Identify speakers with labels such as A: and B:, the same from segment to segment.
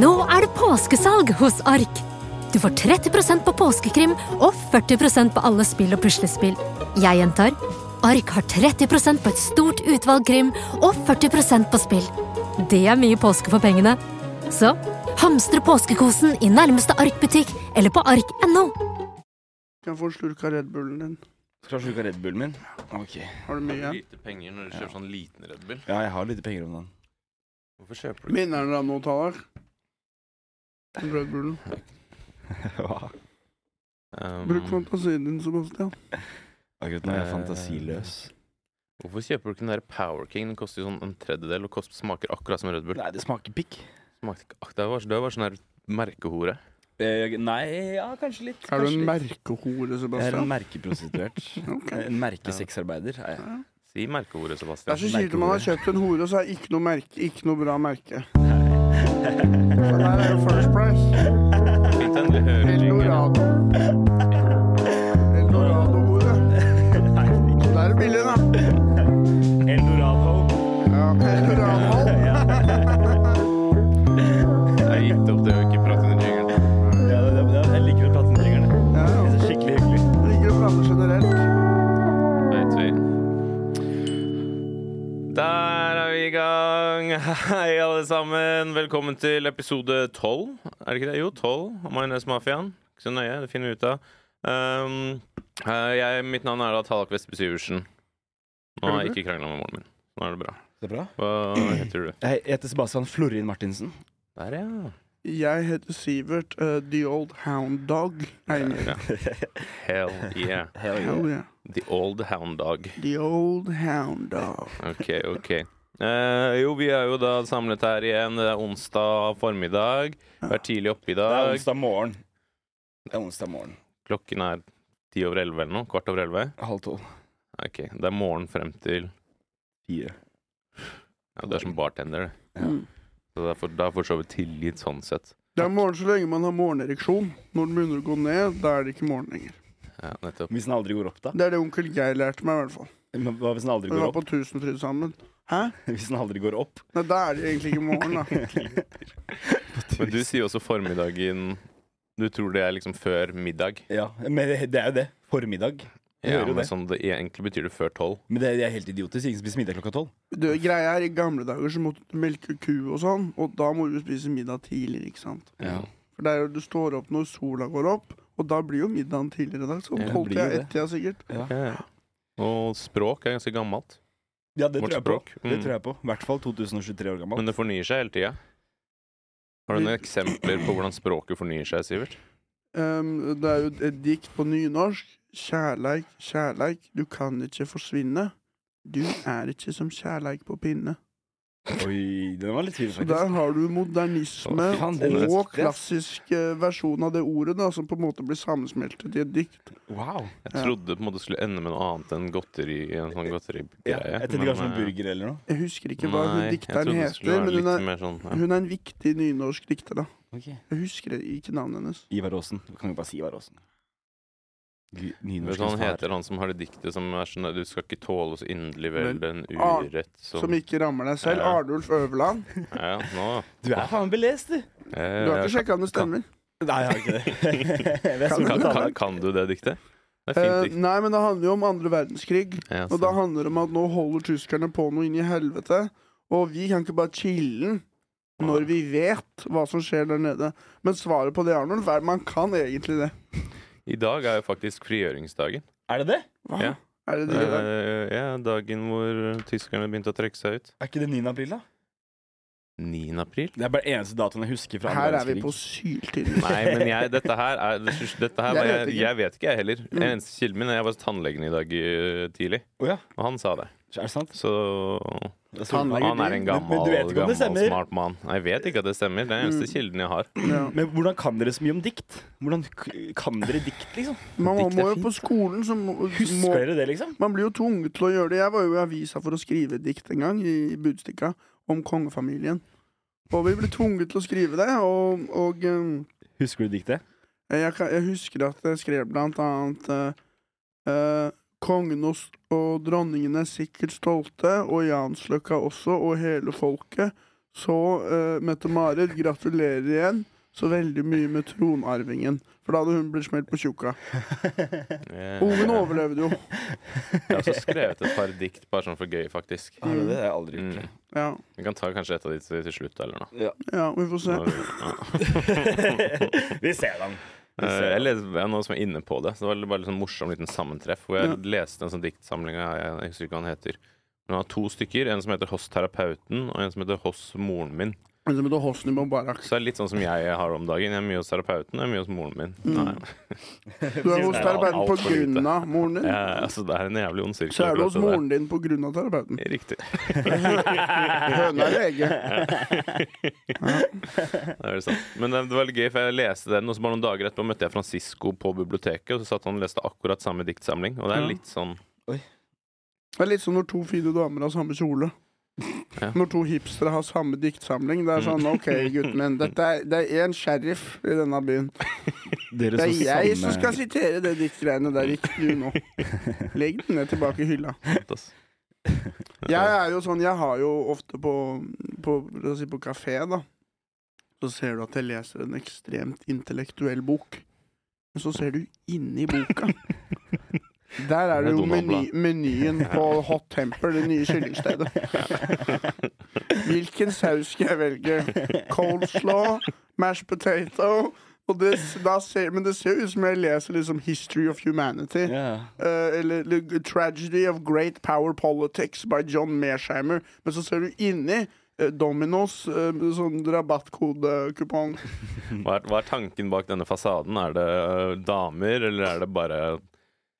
A: Nå er det påskesalg hos Ark. Du får 30 på påskekrim og 40 på alle spill og puslespill. Jeg gjentar Ark har 30 på et stort utvalg krim og 40 på spill. Det er mye påske for pengene. Så hamstre påskekosen i nærmeste Ark-butikk eller på ark.no.
B: Kan få slurka Red Bullen din.
C: Skal du sluke Red Bullen min? Ok.
B: Har du mye?
D: Lite penger når du kjøper sånn liten Red Bull.
C: Ja, jeg har lite penger om dagen.
D: Hvorfor kjøper du
B: Minner den deg om noe, Tallak? Om Red Bullen.
C: Hva?
D: Um,
B: Bruk fantasien din, Sebastian.
C: Akkurat nå er
B: Eh,
C: jeg fantasiløs.
D: Hvorfor kjøper du ikke den der Power King? Den koster jo sånn en tredjedel og kost, smaker akkurat som Red Bull.
C: Nei, det smaker pikk.
D: Smakte ikke ak- Det var, det var sånn her merkehore.
C: Eh, nei, ja, kanskje litt.
B: Er du
C: kanskje
B: en
C: litt.
B: merkehore,
C: Jeg er en
B: Sebastian?
C: merkeprostituert. En merkesexarbeider er jeg.
D: Si merkehore,
B: Det
D: Sebastian.
B: er så kjipt når man har kjøpt en hore, og så er det ikke noe merke, ikke noe bra merke. For der er jo First Price.
D: Fint en lille høring.
B: Eldorado. Eldorado-hore. Da er det billig, da.
E: Eldorado.
B: Ja, Eldorado.
D: Jeg gitt opp det å ikke prate under jingeren.
E: Ja, det, det, det, jeg liker å prate med tingerne.
B: Ja,
E: Det
B: ja.
E: er så skikkelig hyggelig.
B: Ligger og blander generelt.
D: Vet vi. Der er vi i gang. Hei, alle sammen. Velkommen til episode tolv. Er det ikke det? Jo, tolv av Majones-mafiaen. Ikke så nøye, det finner vi ut av. Um, eh, jeg, mitt navn er da Tallak Vestby Syversen. Nå har jeg ikke krangla med moren min. Nå er det bra.
C: Det er bra.
D: Hva heter du?
C: Jeg heter Sebastian Florin Martinsen.
D: Der, ja.
B: Jeg heter Sivert eh, The Old Hound Dog. Einar.
D: ja. Hell yeah.
B: Hell yeah.
D: The old hound dog.
B: The Old Hound Dog.
D: Ok, ok. Eh, jo, vi er jo da samlet her igjen. Det er onsdag formiddag. Vi er tidlig oppe i
C: Det er
D: dag.
C: onsdag morgen. Det er onsdag morgen.
D: Klokken er ti over elleve eller noe. Kvart over elleve.
C: Halv tolv.
D: Ok, Det er morgen frem til
C: Fire.
D: Ja, du er som bartender, det.
C: Ja.
B: Mm.
D: Så det er for, det er for så vidt tilgitt sånn sett.
B: Det er morgen så lenge man har morgenereksjon. Når den begynner å gå ned, da er det ikke morgen lenger.
D: Ja, nettopp.
C: Hvis den aldri går opp, da?
B: Det er det onkel Geir lærte meg, i hvert fall.
C: Men Hva hvis den aldri
B: Vi
C: går
B: var
C: opp?
B: på Tusenfryd sammen. Hæ?
C: Hvis den aldri går opp?
B: Nei, da er det egentlig ikke morgen, da.
D: Men du sier også formiddagen Du tror det er liksom før middag.
C: Ja, men det det er jo det. Formiddag. Jeg
D: Ja,
C: hører jo
D: men
C: det.
D: sånn, det egentlig betyr det før tolv.
C: Men det det er helt idiotisk. Ingen spiser middag klokka tolv.
B: Du, greia er, I gamle dager så måtte du melke ku og sånn, og da må du spise middag tidligere. ikke sant?
C: Ja.
B: For det er jo, du står opp når sola går opp, og da blir jo middagen tidligere i dag. Så
D: Ja, det
B: tolvtida,
C: blir jo det.
B: ett-tida sikkert.
D: Ja, ja. Og språk er ganske gammelt.
C: Ja, det
D: Vårt
C: tror jeg på.
D: språk.
C: Det
D: Mm.
C: tror jeg på. I hvert fall 2023 år gammel.
D: Men det fornyer seg hele tida. Har du noen eksempler på hvordan språket fornyer seg, Sivert?
B: Ehm, det er jo et dikt på nynorsk. Kjærleik, kjærleik, du kan ikke forsvinne. Du er ikke som kjærleik på pinne.
C: Oi, den var litt fin,
B: Så
C: faktisk.
B: der har du modernisme
C: Å, faen, den er
B: og
C: spes.
B: klassisk eh, versjon av det ordet, da, som på en måte blir sammensmeltet i et dikt.
C: Wow.
D: Jeg
B: Ja.
D: trodde på en måte det skulle ende med noe annet enn godteri. En sånn
C: Ja,
D: godterigreie.
C: jeg tenkte kanskje en burger eller noe.
B: Jeg husker ikke hva hun dikteren heter, men hun
D: litt
B: er,
D: mer sånn ja.
B: hun er en viktig nynorsk dikter, da. Jeg husker ikke navnet hennes.
C: Ivar Aasen. Du kan jo bare si Ivar Aasen. Gud,
D: Vet
C: Nynorsk
D: du hva han
C: svar.
D: heter, han som har det diktet som er sånn der, Du skal ikke tåle så inderlig vel en
B: Ar-
D: urett som,
B: Som ikke rammer deg selv.
D: Ja.
B: Arnulf Øverland.
D: Ja, nå
C: Du er faen belest, du!
B: Du har ikke sjekka om det stemmer?
C: Nei, jeg har ikke det. Vi er
B: Kan-
C: så
D: kan,
C: godt
D: kan,
C: anlagt.
D: kan du det diktet? Det
B: Eh,
D: er fint dikt.
B: nei, men det handler jo om andre verdenskrig.
D: Ja,
B: Og da
D: så-
B: handler det om at nå holder tyskerne på noe inn i helvete. Og vi kan ikke bare chille'n når vi vet hva som skjer der nede. Men svaret på det, Arnulf, er man kan egentlig det.
D: I dag er jo faktisk frigjøringsdagen.
C: Er det det?
B: Hva?
D: Ja.
B: Er det det? der?
D: Eh, ja, dagen hvor tyskerne begynte å trekke seg ut.
C: Er ikke det 9. april, da?
D: 9. april.
C: Det er bare eneste datoen jeg husker fra
B: Her er vi på syltynn.
D: Nei, men jeg, dette her er det- dette her,
B: Jeg
D: var
B: vet
D: jeg,
B: ikke.
D: jeg vet ikke, jeg heller. Den eneste kilden min er jeg var hos tannlegen i dag eh, tidlig,
C: Mm. Å ja.
D: og han sa det.
C: Er det sant?
D: Så
C: Det er så-
B: Tannlege,
D: han er en gammel,
C: Men- men du vet ikke om
D: gammel
C: det stemmer. Mm.
D: smart mann. Nei, Jeg vet ikke at det stemmer. Det er den eneste kilden jeg har.
B: Ja.
C: Men hvordan kan dere så mye om dikt? Hvordan k- kan dere dikt, liksom?
B: Man må,
C: Dikt er
B: må jo
C: fint.
B: på skolen, så må, må
C: Husker dere det, liksom?
B: Man blir jo tvunget til å gjøre det. Jeg var jo i avisa for å skrive et dikt en gang, i, i Budstikka, om kongefamilien. Og vi ble tvunget til å skrive det, og, og eh,
C: Husker du diktet?
B: jeg, kan, jeg husker at jeg skrev blant annet eh, eh, Kongen og, s- og dronningen er sikkert stolte, og Jansløkka også, og hele folket. Så, eh, Mette-Marit, gratulerer igjen så veldig mye med tronarvingen. For da hadde hun blitt smelt på tjukka.
D: Eh,
B: Og
C: Oh,
B: Ungen overlevde jo.
D: Jeg har også skrevet et par dikt bare sånn for gøy, faktisk.
C: Ah, det har jeg aldri gjort.
D: Mm.
B: Ja,
D: Vi kan ta kanskje et av de til, til slutt, eller noe.
B: ja vi får se.
C: Mm. Vi ser den.
D: Eh, Jeg leste jeg er noe som er inne på det. Så det var bare litt sånn morsom liten sammentreff. Hvor jeg
B: Ja.
D: leste en sånn diktsamling av jeg, jeg husker ikke hva han heter. Men han har to stykker. En som heter Hos terapeuten, og en som heter Hos moren min.
B: Men så må du ha Hosni Mubarak.
D: Så det er litt sånn som jeg har om dagen. Jeg er mye hos terapeuten, jeg er mye hos moren min.
B: Mm.
D: Nei.
B: Du er hos
D: Det er
B: terapeuten
D: alt
B: på
D: for lite.
B: grunn av moren din.
D: Eh, altså, det er en jævlig ond sirkel.
B: Så er du
D: akkurat
B: hos
D: det der.
B: moren din på grunn av terapeuten.
D: Riktig.
B: Høna er lege.
D: Det er vel sant. Men det det var litt gøy, for jeg leste den, og så bare noen dager etterpå møtte jeg Francisco på biblioteket, og så satt han og leste akkurat samme diktsamling. Og det
B: Ja.
D: er litt sånn
B: Det er litt som når to fine damer har samme kjole.
D: Ja.
B: Når to hipstere har samme diktsamling. Det er sånn OK, gutten min. Dette er, det er én sheriff i denne byen. Det er jeg som skal sitere det diktgreiene der, ikke du nå. Legg den ned tilbake i hylla.
D: fett, ass.
B: Jeg er jo sånn, jeg har jo ofte på, på, la oss si på kafé, da, så ser du at jeg leser en ekstremt intellektuell bok. Men så ser du inni boka. Der er det jo meny,
D: Donald-blad.
B: menyen på Hot Temper, det nye kyllingstedet. Hvilken saus skal jeg velge? Coleslaw, mashed potato og det, da ser, Men det ser jo ut som jeg leser liksom History of Humanity.
C: Ja.
B: Eh, eller The Tragedy of Great Power Politics by John Mearsheimer. Men så ser du inni eh, Dominos, eh, sånn rabattkodekupong.
D: Hva er, hva er tanken bak denne fasaden? Er det øh, damer, eller er det bare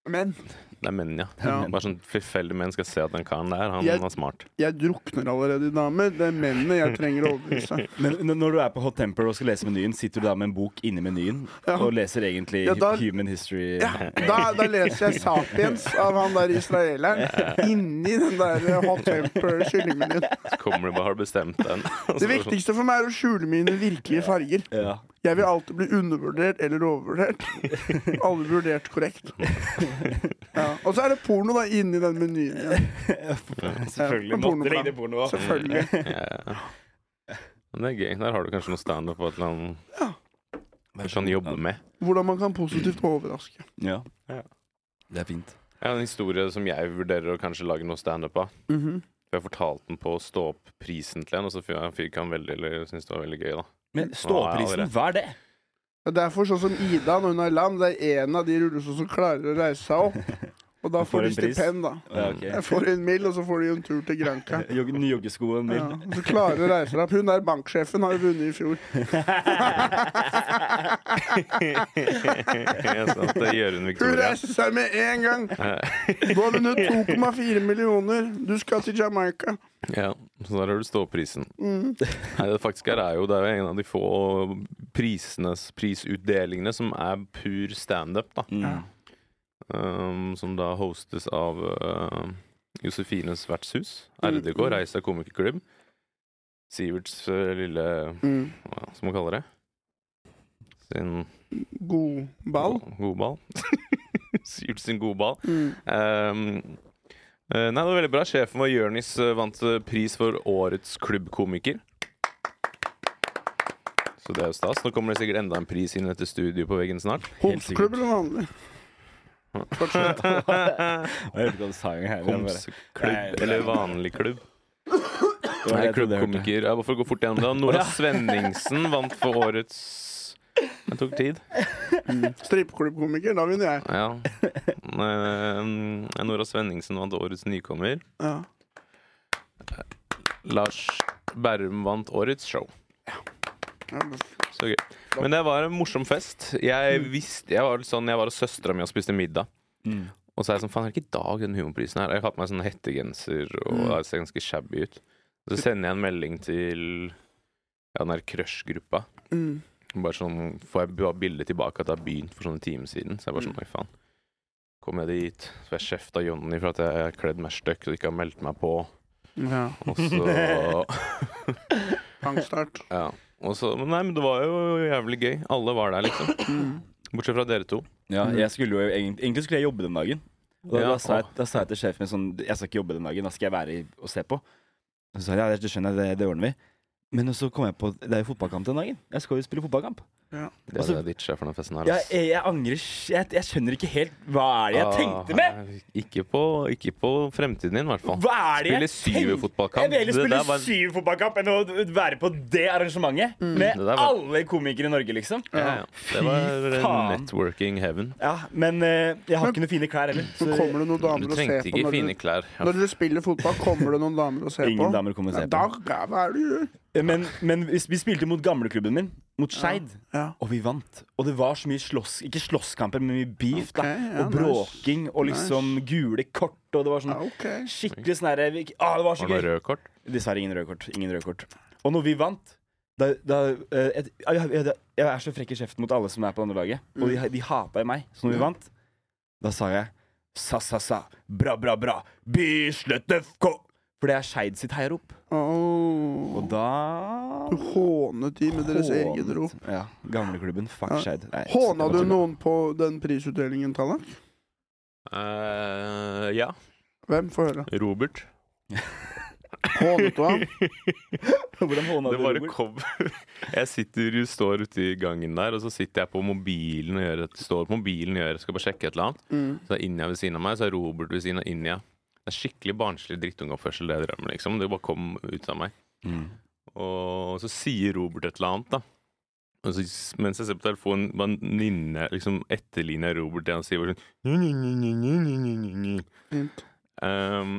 B: Men
D: Det er menn, ja.
B: Ja.
D: Bare sånn tilfeldig menn skal se at den karen der, han
B: Jeg-
D: er smart.
B: jeg drukner allerede i damer. Det er mennene jeg trenger å overbevise.
C: Men n- når du er på Hot Temper og skal lese menyen, sitter du da med en bok inni menyen
B: Ja.
C: og leser egentlig
B: Ja, da-
C: hu- Human History
B: Ja, da, da leser jeg 'Sapiens' av han der israeleren inni den der hot temper-kyllingmenyen.
D: Så kommer du bare har bestemt Altså, den.
B: Det viktigste for meg er å skjule mine virkelige farger.
C: Ja.
B: Jeg vil alltid bli undervurdert eller overvurdert. Alle vurdert korrekt. Ja. Og så er det porno da inni den menyen igjen.
C: Selvfølgelig.
B: men
C: Måtte
B: pornobladet.
C: legge det porno også.
B: Selvfølgelig.
D: sånn, Men det er gøy. Der har du kanskje noe standup og et eller annet du kan
C: sånn,
D: jobbe sånn med.
B: Hvordan man kan positivt overraske.
C: Ja.
D: Ja.
C: Det er fint.
D: Jeg har en historie som jeg vurderer å kanskje lage noe standup av.
B: Mhm.
D: For Jeg fortalte den på Stå opp-prisen til en, og så f- fikk han veldig eller syntes det var veldig gøy, da.
C: Men
D: Ja,
C: ståprisen,
D: det
C: hva er det?
B: Det er Derfor, sånn som Ida når hun er lam, det er en av de rullestolene som klarer å reise seg opp. Og da
C: Får
B: får de
C: en pris.
B: stipend, da.
C: Ja, ok.
B: Jeg får en mil, og så får de en tur til Granca.
C: Jogge- Nye joggeskoen min.
B: Ja, og så klarer de å reise seg opp. Hun der banksjefen har jo vunnet i fjor.
D: Jeg sa at det er Jørund
B: Hun
D: Victoria.
B: reiser seg med en gang! Du har vunnet 2,4 millioner. Du skal til Jamaica. Mm.
D: Ja, så der har du ståprisen. Nei, det faktisk her er jo, det er jo en av de få prisenes, prisutdelingene som er pur standup, da.
C: Mm.
D: Um, som da hostes av uh, Josefines vertshus, RDK,
B: Mm.
D: Reisa komikerklubb, Siverts uh, lille
B: Mm.
D: Hva skal man kalle det? Sin
B: God ball.
D: go- Godball. Sivert sin godball.
B: Mm.
D: Um, eh, nei, det var veldig bra. Sjefen vår, Jørnis, eh, vant eh, pris for årets klubbkomiker. Så det er jo stas. Nå kommer det sikkert enda en pris inn i dette studioet på veggen snart.
B: Homseklubb eller vanlig? Fortsett.
C: Jeg hørte ikke hva du sa engang her. jeg bare- Nei,
D: Homseklubb
C: det-
D: eller vanlig klubb.
C: Det var det
D: Nei,
C: jeg trodde jeg hørte.
D: klubbkomiker. Ja, hvorfor gå fort gjennom det? Nora Svenningsen vant for årets Det tok tid.
B: Strippeklubbkomiker, da vinner jeg.
D: Ja. Eh, Nora Svenningsen vant årets nykommer.
B: Ja.
D: Lars Berrum vant årets show.
B: Ja, men-
D: Så gøy. Men det var en morsom fest. Jeg visste, jeg var litt sånn, jeg var hos søstera mi og spiste middag.
C: Mm.
D: Og så er jeg sånn, faen er det ikke i dag den humorprisen her? Jeg har på meg sånn hettegenser og jeg ser ganske shabby ut. Så sender jeg en melding til ja, den der crush-gruppa.
B: Mm.
D: Bare sånn, får jeg bare bilde tilbake at det har begynt for sånn en time siden. Så jeg bare sånn, oi faen. Kom jeg dit, så får jeg kjeft av Jonny for at jeg har kledd meg støkk og ikke har meldt meg på.
B: ja.
D: Og så
B: Pangstart.
D: Ja. Og så, men nei, men det var jo jævlig gøy. Alle var der, liksom.
B: Mm.
D: Bortsett fra dere to.
C: Ja, jeg skulle jo egentlig, egentlig skulle jeg jobbe den dagen. Og da,
D: Ja,
C: da, sa jeg,
D: åh.
C: da sa jeg til sjefen min sånn Jeg skal ikke jobbe den dagen, da skal jeg være i- og se på. Og så sa han ja, det, det skjønner jeg, det, det ordner vi. Men så kom jeg på Det er jo fotballkamp den dagen. Jeg skal jo spille fotballkamp.
D: Det
C: Altså-
D: er ditcha for den festen her.
C: Jeg,
D: ass.
C: jeg, jeg angrer sj- jeg, jeg skjønner ikke helt Hva er det jeg tenkte med?!
D: Ah, Ikke på, ikke på fremtiden din, i hvert fall.
C: Hva er det
D: Spille
C: jeg tenkte?
D: syverfotballkamp.
C: Jeg vil heller
D: Det
C: spille
D: der var-
C: syverfotballkamp enn å være på det arrangementet med
D: Det der var-
C: alle komikere i Norge, liksom.
D: Ja, ja. Det
C: Fy
D: var
C: faen.
D: networking heaven.
C: Ja, men eh, jeg har ikke noen fine klær heller.
B: Så kommer det noen
D: Du
B: damer og ser
D: trengte
B: på.
D: ikke
B: Når
D: fine
B: du,
D: klær.
B: når dere spiller fotball, kommer det noen damer og ser på?
C: Ingen damer kommer å
B: Ja,
C: se
B: da,
C: på.
B: ja, hva er det du gjør?
C: Men, men vi vi spilte mot gamleklubben min, mot Skeid,
B: Ja.
C: og vi vant. Og det var så mye slåss... Ikke slåsskamper, men mye beef,
B: Ok,
C: da.
B: ja,
C: Og
B: nice.
C: bråking og liksom gule kort, og det
B: Ja,
C: var sånn
B: OK.
C: skikkelig sånn herre vi- ah, Det var så
D: Har du noe
C: gøy.
D: rød kort?
C: Dessverre ingen røde kort. Ingen røde kort. Og når vi vant da, da, eh, et, jeg, jeg, jeg er så frekk i kjeften mot alle som er på det andre laget. Og de, de hata meg. Så når vi
B: Mm. Ja.
C: vant, da sa jeg sa-sa-sa, bra-bra-bra, Bislett FK! For det er Skeid sitt heiarop.
B: Oh.
C: Og da
B: Du hånet de med deres eget rop.
C: Ja. Gamleklubben. Fuck
B: Ja.
C: Skeid. Nei,
B: Håna
C: det var
B: du
C: tull.
B: noen på den prisutdelingen, Tallak?
D: Eh, ja.
B: Hvem? Få høre.
D: Robert.
B: Hånet du ham?
C: Hvordan håna
D: Det
C: du
D: bare
C: Robert?
D: kom Jeg sitter står ute i gangen der, og så sitter jeg på mobilen og gjør et, står på mobilen og gjør, skal bare sjekke et eller annet.
B: Mm.
D: Så er Inja ved siden av meg, så er Robert ved siden av Inja. Det er skikkelig barnslig drittungoppførsel, det jeg drev med, liksom. Det bare kom ut av meg.
C: Mm.
D: Og så sier Robert et eller annet, da. Og så, s- mens jeg ser på telefonen, bare nynner jeg- liksom etterligner jeg Robert det han sier, bare sånn
B: Fint.
D: um,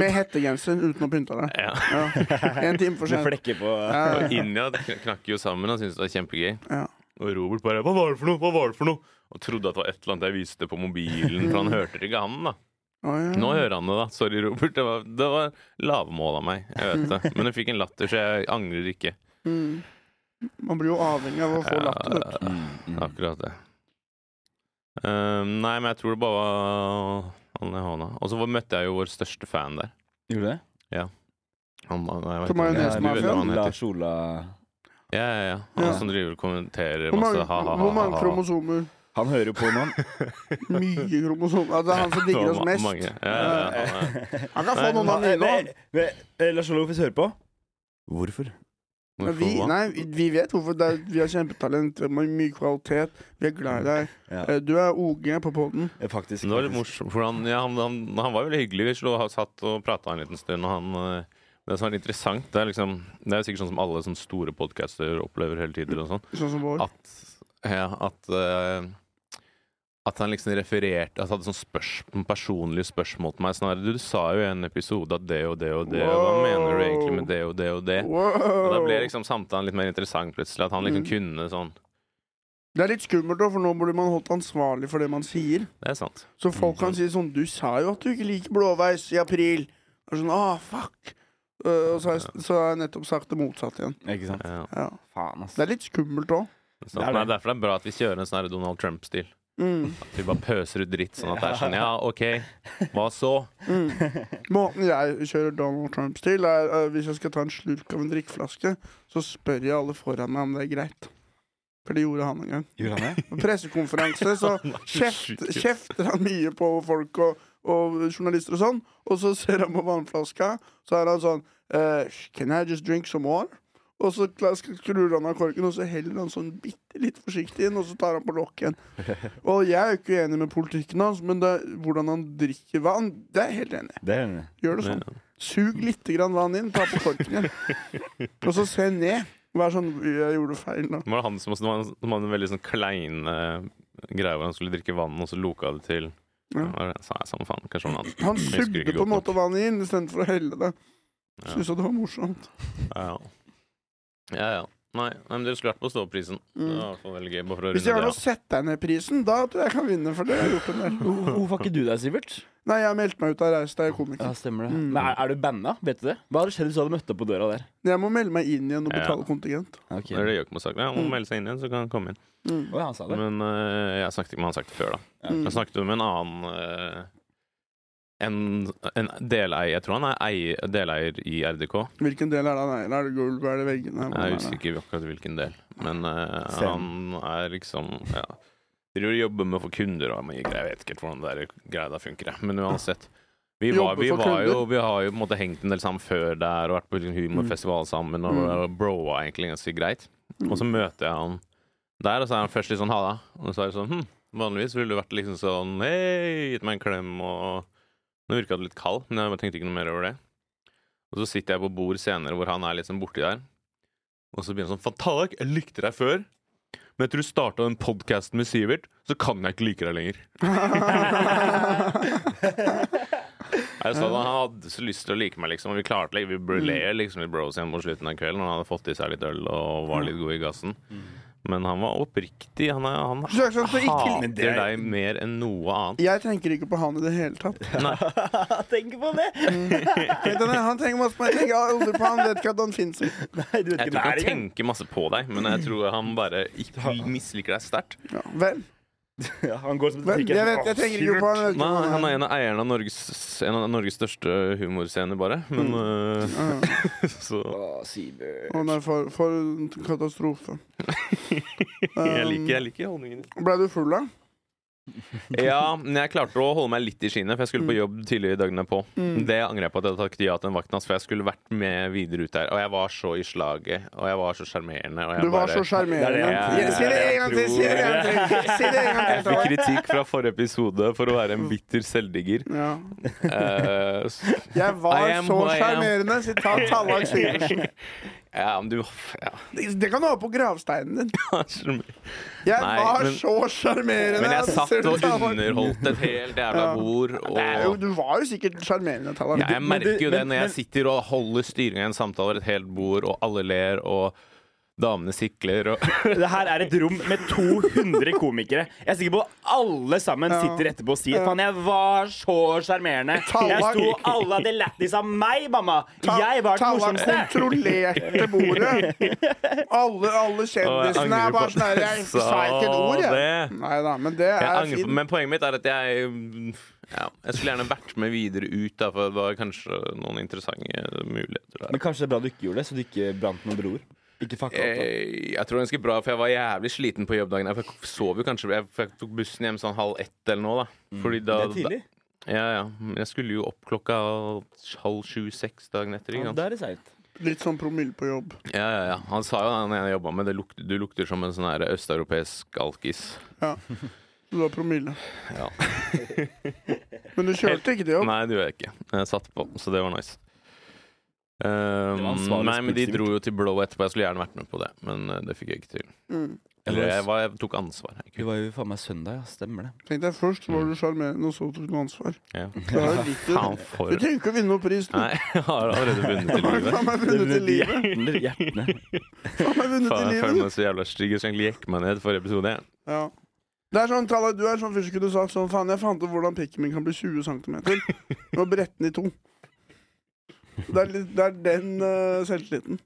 B: Med hettegenser uten å pynte deg.
D: ja.
B: Ja. En time for
C: Med
B: sent.
C: flekker på
B: Ja, ja,
D: Og Inja kn- knakk jo sammen og syntes det var kjempegøy.
B: Ja.
D: Og Robert bare 'Hva var det for noe?' Hva var det for noe? Og trodde at det var et eller annet jeg viste på mobilen,
B: Mm.
D: for han hørte det ikke, han, da.
B: Å, ja.
D: Nå hører han det, da. Sorry, Robert. Det var, det var lavmål av meg. Jeg vet det. Men jeg fikk en latter, så jeg angrer ikke.
B: Mm. Man blir jo avhengig av å få latter. vet du.
D: Ja,
C: Mm,
D: akkurat det. Um, nei, men jeg tror det bare var han i hånda. Og så var- møtte jeg jo vår største fan der.
C: Gjorde du det?
D: Han, han, jeg vet
B: Som
D: ikke om-
B: Majones
D: du vet hva han heter.
C: Lars Ola
D: Ja, ja, ja. Han
B: Ja.
D: som driver og kommenterer
B: Hvor mange,
D: masse ha-ha-ha.
B: hvor mange kromosomer?
C: Han hører jo på nå. han.
B: Mye kromosomer. Ja, det er han som digger oss mest.
D: Ja, ja, ja, han er-
B: Han kan få noen av
C: Eh,
B: mine
C: men- men, eh, Lars Ola, hvis du hører på Hvorfor?
B: òg.
D: Hvorfor
B: Vi,
D: hva?
B: nei, vi vet hvorfor. Det er, vi har kjempetalent, vi har mye kvalitet. Vi er glad i
D: Mm.
B: deg.
C: Ja.
B: Eh, Du er OG på poden.
C: Eh, Faktisk.
D: Men Det var litt
C: faktisk.
D: morsomt, for han, ja, han, han, han var veldig hyggelig. Vi slo, satt og prata en liten stund, og han eh, Det som er interessant, det er liksom Det er jo sikkert sånn som alle sånne store podcaster opplever hele tiden og sånn,
B: Sånn som vår.
D: at ja, at eh, at han liksom refererte At han hadde sånn spørs, personlige spørsmål til meg. Sånn her, du, du sa jo i en episode at det og det og det, og hva
B: Wow.
D: mener du egentlig med det og det og det? Og da
B: Wow.
D: ble liksom samtalen litt mer interessant plutselig. At han
C: Mm.
D: liksom kunne sånn.
B: Det er litt skummelt, da, for nå blir man holdt ansvarlig for det man sier.
D: Det er sant.
B: Så
C: Mm,
B: folk kan si sånn Du sa jo at du ikke liker blåveis i april. Og sånn, ah, fuck Eh, Og så har jeg, så har jeg nettopp sagt det motsatte igjen.
C: Ikke sant?
D: Ja.
B: Ja.
C: Faen, ass.
B: Det er litt skummelt òg.
D: Så,
C: Det er
D: nei,
C: det.
D: derfor er det bra at vi kjører en sånn her Donald Trump-stil.
B: Mm.
D: Vi bare pøser ut dritt sånn at det er sånn Ja, OK, hva så?
B: Mm. Måten jeg kjører Donald Trump til, er eh, hvis jeg skal ta en slurk av en drikkeflaske, så spør jeg alle foran meg om det er greit. For det gjorde han en gang.
C: Gjorde han det?
B: På pressekonferanse så
D: Sånn,
B: kjeft, kjefter han mye på folk og, og journalister og sånn, og så ser han på vannflaska, så er han sånn eh, Can I just drink some more? Og så kla- sk- skrur han av korken, og så heller han sånn bitte litt forsiktig inn, og så tar han på lokket igjen. Og jeg er jo ikke uenig med politikken hans, men det, hvordan han drikker vann, det er jeg helt enig i.
C: Det er det.
B: Gjør det sånn. Sug litt grann vann inn, ta på korken igjen. Og så se ned. Vær sånn Jeg gjorde feil nå.
D: Det var han som, også, det var han som hadde en veldig sånn klein eh, greie hvor han skulle drikke vann, og så loka det til
B: Ja.
D: ja. det sa jeg samme faen, kanskje noe annet.
B: Han
D: Jeg husker
B: sugde
D: ikke
B: på en
D: godt
B: måte vannet inn istedenfor å helle det.
D: Ja.
B: Syns jeg det var morsomt.
D: Ja, ja. ja, ja. Nei, nei, men dere skulle vært på Ståprisen. Det var i hvert fall veldig gøy. Bare for å
B: Mm. Hvis jeg
D: runde
B: har
D: det
B: noe å
D: av.
B: sette deg ned-prisen, da tror jeg jeg kan vinne. For det har jeg gjort en del.
C: Hvorfor ikke du deg, Sivert?
B: Nei, jeg har meldt meg ut av Reis deg, jeg er
C: Ja,
B: komiker.
C: stemmer det.
B: Mm.
C: Men er, er du banna? Vet du det? Hva hadde skjedd hvis du hadde møtt opp på døra der?
B: Jeg må melde meg inn igjen og
D: Ja.
B: betale kontingent.
C: Ok.
D: Det er det Gjøkmo-saken. Ja, han må melde seg inn igjen, så kan han komme inn.
B: Mm.
C: Å, ja, han sa det.
D: Men eh, jeg snakket ikke med han sagt det før, da.
B: Mm.
D: Jeg snakket med en annen eh, en, en deleier Jeg tror han er eier, deleier i RDK.
B: Hvilken del er det han eier? Er det gulv? Er det veggene? Hvordan er
D: Jeg
B: det?
D: husker ikke akkurat hvilken del, men eh,
C: Fem.
D: han er liksom ja, Driver og jobber med å få kunder og mye greier. Jeg vet ikke helt hvordan det der greia der funker, jeg. men uansett. Vi,
B: Jobbe
D: var, vi,
B: for
D: var
B: kunder.
D: jo, vi har jo på en måte hengt en del sammen før der og vært på liksom humorfestival sammen. Og
B: Mm.
D: broa egentlig ganske greit. Og så møter jeg han der, og så er han først litt sånn ha det. Og så er det sånn hm, Vanligvis ville du vært liksom sånn hei, gitt meg en klem og Nå virka det litt kald, men jeg bare tenkte ikke noe mer over det. Og så sitter jeg på bord senere hvor han er liksom borti der, og så begynner han sånn Fantalak, jeg likte deg før, men etter du starta den podkasten med Sivert, så kan jeg ikke like deg lenger. Jeg sa at Han hadde så lyst til å like meg, liksom. Og vi klarte det. Vi
B: Mm.
D: ble liksom litt bros igjen på slutten av kvelden. Og han hadde fått i seg litt øl og var
B: Mm.
D: litt god i gassen. Men han var oppriktig. Han, er, han
B: Du er sånn for ikke-
D: hater
C: Men det er-
D: deg mer enn noe annet.
B: Jeg tenker ikke på han i det hele tatt.
C: Tenk på det!
B: Tenk deg det, Han tenker masse på meg. Jeg tenker aldri på han, vet ikke at han finnes.
C: Nei, du vet
D: Jeg
C: ikke
D: tror ikke
C: det er
D: han
C: engang.
D: tenker masse på deg, men jeg tror han bare ikke misliker deg sterkt.
B: Ja, vel,
C: Ja, han går som et
B: vel,
C: trikk.
B: jeg vet, jeg tenker ikke på han. jeg vet
D: Nei,
B: ikke hvem
D: Han er en av eierne av Norges, en av Norges største humorscener, bare. Men
B: Mm.
D: øh,
B: Ja,
D: så
C: Å, Sivert.
B: Å nei, for, for en katastrofe.
D: Jeg
B: Um,
D: liker, jeg liker holdningen din.
B: Ble du full, da?
D: Ja, men jeg klarte å holde meg litt i skinnet, for jeg skulle på jobb tidligere i dagene på.
B: Mm.
D: Det angrer jeg på at jeg takket ja til den vakten hans, for jeg skulle vært med videre ut der. Og jeg var så i slaget, og jeg var så sjarmerende. og jeg
B: Du var
D: bare-
B: så sjarmerende.
C: Det er det jeg-
B: Ja, Si det en gang til! Si det en gang til! Si det en gang
D: Jeg
B: til
D: fikk
B: Tara.
D: kritikk fra forrige episode for å være en bitter selvdigger.
B: ja.
D: Eh, s-
B: Jeg
D: I
B: var
D: am
B: så
D: who I am.
B: sjarmerende! Sitat Tallak Syversen.
D: ja, men du Ja,
B: Det det kan du ha på gravsteinen din.
D: sjarmerende.
B: Jeg
D: Nei,
B: var
D: men-
B: så sjarmerende!
D: Men jeg
B: at
D: satt
B: Sylvi
D: og
B: Tallak-
D: underholdt et helt
B: Ja.
D: jævla bord,
B: Det er jo,
D: og
B: Du var jo sikkert sjarmerende, Tallak.
D: ja, jeg
C: men du-
D: merker jo det
C: men-
D: når jeg
C: men-
D: sitter og holder styringa i en samtale over et helt bord, og alle ler, og damene sikler, og
C: Det her er et rom med 200 komikere. Jeg er sikker på at alle sammen
B: Ja.
C: sitter etterpå og sier Faen, jeg var så sjarmerende. Jeg
B: Tallak.
C: sto alle hadde lættis av meg, mamma.
B: Ta-
C: Jeg var den
B: Tallak
C: morsomste.
B: kontrollerte bordet. Alle, alle
D: Og jeg
B: kjendisene
D: angrer
B: er bare
D: på-
B: sånn her Jeg
D: Sa
B: sa ikke et ord, jeg.
D: det.
B: Nei da, men det
D: Jeg
B: er
D: angrer på,
B: fint.
D: men poenget mitt er at jeg ja, Jeg skulle gjerne vært med videre ut, da, for det var kanskje noen interessante muligheter der.
C: Men kanskje det er bra du ikke gjorde det, så du ikke brant noen broer. Ikke fucka opp. da.
D: Jeg, Eh, jeg tror det er ganske bra, for jeg var jævlig sliten på jobbdagen. Jeg fikk- sov jo kanskje Jeg fikk- tok bussen hjem sånn halv ett eller noe, da. Fordi da,
C: Mm. Det er tidlig.
D: Ja, ja. Men jeg skulle jo opp klokka halv sju-seks dagen etter. Ikke
C: Ja,
D: sant?
C: da er det seint.
B: Litt sånn promille på jobb.
D: Ja, ja, ja. Han sa jo han ene jeg jobba med, det lukter, du lukter som en sånn her østeuropeisk alkis.
B: Du har promille.
D: Ja.
B: Men du kjørte ikke det opp?
D: Nei, det gjør jeg ikke. Jeg satt på, så det var nice. Um,
C: Det var ansvarlig
D: nei, men de
C: spurt, Sivert.
D: dro jo til Blow etterpå. Jeg skulle gjerne vært med på det, men eh, det fikk jeg ikke til.
B: Mm.
D: Eller jeg, var, jeg tok ansvar. Jeg,
C: Vi var jo faen meg søndag, ja. Stemmer det.
B: Tenkte jeg Først var du sjarmerende, og så tok du ansvar.
D: ja.
B: Da er det litt- Du
D: Faen for
B: trenger ikke å vinne noen pris. Du
D: Nei, jeg har allerede vunnet i
B: har
D: livet.
B: faen meg vunnet i livet.
C: Hjertene, hjertene.
B: Faen meg vunnet i
D: Faen, jeg føler
B: livet.
D: meg så jævla stygg. Jeg skulle egentlig jekke meg ned forrige episode. jeg.
B: Ja. Det er sånn, Tallak, Du er sånn fyr som kunne sagt sånn Faen, jeg fant ut hvordan pikken min kan bli 20 cm. Og brette den i to. Det er, litt, det er den eh, selvtilliten.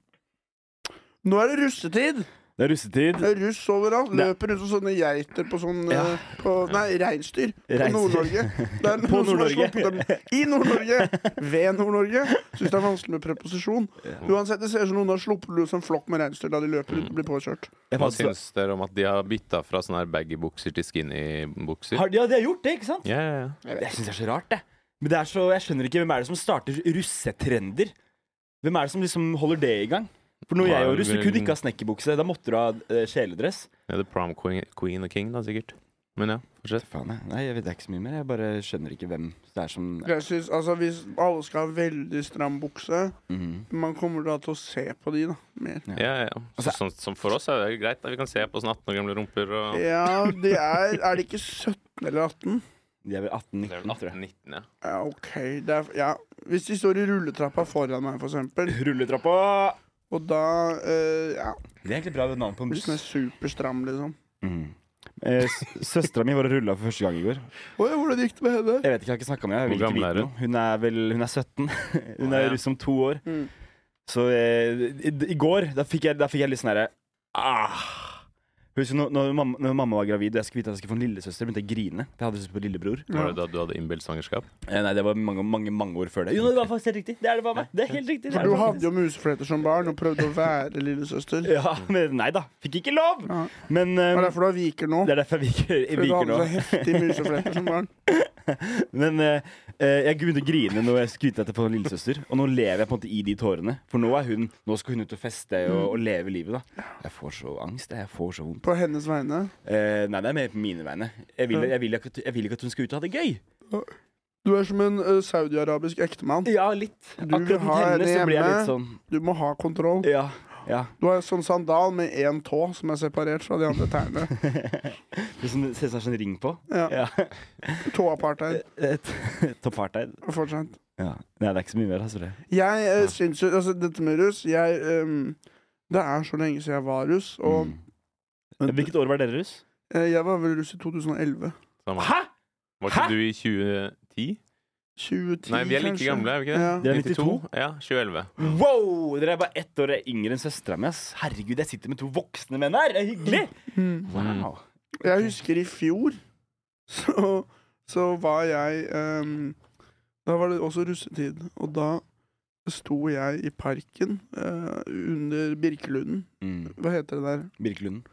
B: Nå er det russetid!
C: Det er russetid.
B: Det er russ overalt.
C: Det-
B: Løper rundt som sånne geiter på sånn eh,
C: Ja.
B: på, Nei, reinsdyr. På
C: Reiser.
B: Nord-Norge. Det er noen
C: På
B: som har
C: Nord-Norge.
B: sluppet dem i Nord-Norge! Ved Nord-Norge. Syns det er vanskelig med preposisjon. Uansett, det ser ut som noen har sluppet løs en flokk med reinsdyr da de løper rundt og blir påkjørt.
C: Jeg
D: Hva
C: fant-
D: syns dere om at de har bytta fra sånne her baggy-bukser til skinny-bukser?
C: Har, ja, de har gjort det, ikke sant?
D: Ja, ja, ja.
C: Det syns jeg er så rart, det. Men det er så, jeg skjønner ikke hvem er det som starter russetrender. Hvem er det som liksom holder det i gang? For når
D: Nei,
C: jeg var russ, du
D: men-
C: kunne ikke ha snekkerbukse. Da måtte du ha eh, kjeledress.
D: Ja, The prom queen, queen og king, da, sikkert. Men ja, fortsett.
C: Faen, jeg. Nei, jeg vet ikke så mye mer. Jeg bare skjønner ikke hvem det er som
B: Jeg synes, altså Hvis alle skal ha veldig stram bukse
C: Mhm.
B: Man kommer da til å se på de, da. Mer.
D: Ja, ja, ja.
B: Altså-
D: Så, sånn som for oss er det greit. Da. Vi kan se på sånne 18 år gamle rumper og
B: Ja, de er Er de ikke 17 eller 18?
C: De er vel
D: Det er
C: 18-19,
D: vel
C: tror jeg.
D: 18-19, ja.
B: Ja, OK. Det er, ja. Hvis de står i rulletrappa foran meg, for eksempel,
C: Rulletrappa!
B: og da eh, Ja,
C: Det er egentlig bra navn på en
B: hvis
C: buss.
B: den er superstram, liksom.
C: Mm. Eh, s- Søstera mi var og rulla for første gang i går.
B: Å ja, hvordan gikk det med henne?
C: Jeg vet ikke, jeg har ikke snakka med henne. Jeg vil
D: Hvor
C: ikke
D: gammel er
C: vite
D: hun?
C: noe. Hun er vel hun er 17. Hun
D: Å,
C: er
D: ja.
C: russ om to år.
B: Mm.
C: Så eh, i, i går, da fikk jeg, da fikk jeg litt sånn herre ah. Husker du når, når, mamma, når mamma var gravid og jeg skulle vite at jeg skulle få en lillesøster, begynte jeg å grine. For jeg hadde lyst på lillebror.
D: Var det da du hadde innbilt svangerskap?
C: Eh, nei, det var mange, mange mange år før det. Jo, det var faktisk helt riktig. Det er det bare meg. Det er helt riktig. Det er
B: For du
C: det bare
B: hadde jo musefletter som barn og prøvde å være lillesøster.
C: meg. Ja, men nei da. Fikk ikke lov!
B: Ja.
C: Men
B: Det
C: eh,
B: er derfor du har viker nå.
C: det er derfor jeg viker, jeg
B: Fordi du
C: viker
B: hadde
C: nå.
B: så heftige musefletter som barn.
C: Men eh, eh, jeg begynte å grine når jeg skrytte etter for lillesøster, og nå lever jeg på en måte i de tårene. For nå er hun Nå skal hun ut og feste og, og leve livet, da. Jeg får så angst. Jeg får så vondt.
B: På hennes vegne.
C: Eh, nei, det er mer på mine vegne. Jeg vil, jeg, vil ikke, at- jeg vil ikke at hun skal ut og ha det gøy.
B: Du er som en eh, saudi-arabisk ektemann.
C: Ja, litt.
B: Du
C: Akkurat mot
B: har
C: henne så blir jeg
B: hjemme.
C: litt sånn
B: Du må ha kontroll.
C: Ja. ja.
B: Du har en sånn sandal med én tå som er separert fra de andre tærne.
C: Det er sånn, ser ut som det er en ring på.
B: Ja.
C: Ja.
B: Tåapartheid.
C: Topartheid.
B: Fortsatt.
C: Ja. Nei, det er ikke så mye mer, altså. Det.
B: Jeg eh, syns jo Altså, dette med russ jeg, ehm, Det er så lenge siden jeg var russ, og
C: Mm. Hvilket år var dere russ?
B: eh, jeg var vel russ i 2011.
D: Samme.
C: Hæ?
D: Var ikke
C: Hæ?
D: du i 2010?
B: 2010,
D: Nei, vi er like
B: kanskje.
D: gamle, er vi ikke det?
B: Ja.
C: Dere er 92?
D: Ja, 2011.
C: Wow! Dere er bare ett år yngre enn søstera mi. ass. Herregud, jeg sitter med to voksne menn her! Det er hyggelig!
B: Mm.
C: Wow.
B: Jeg husker i fjor Så, så var jeg ehm, Da var det også russetid Og da sto jeg i parken eh, Under Birkelunden
C: Mm.
B: Hva heter det der?
C: Birkelunden.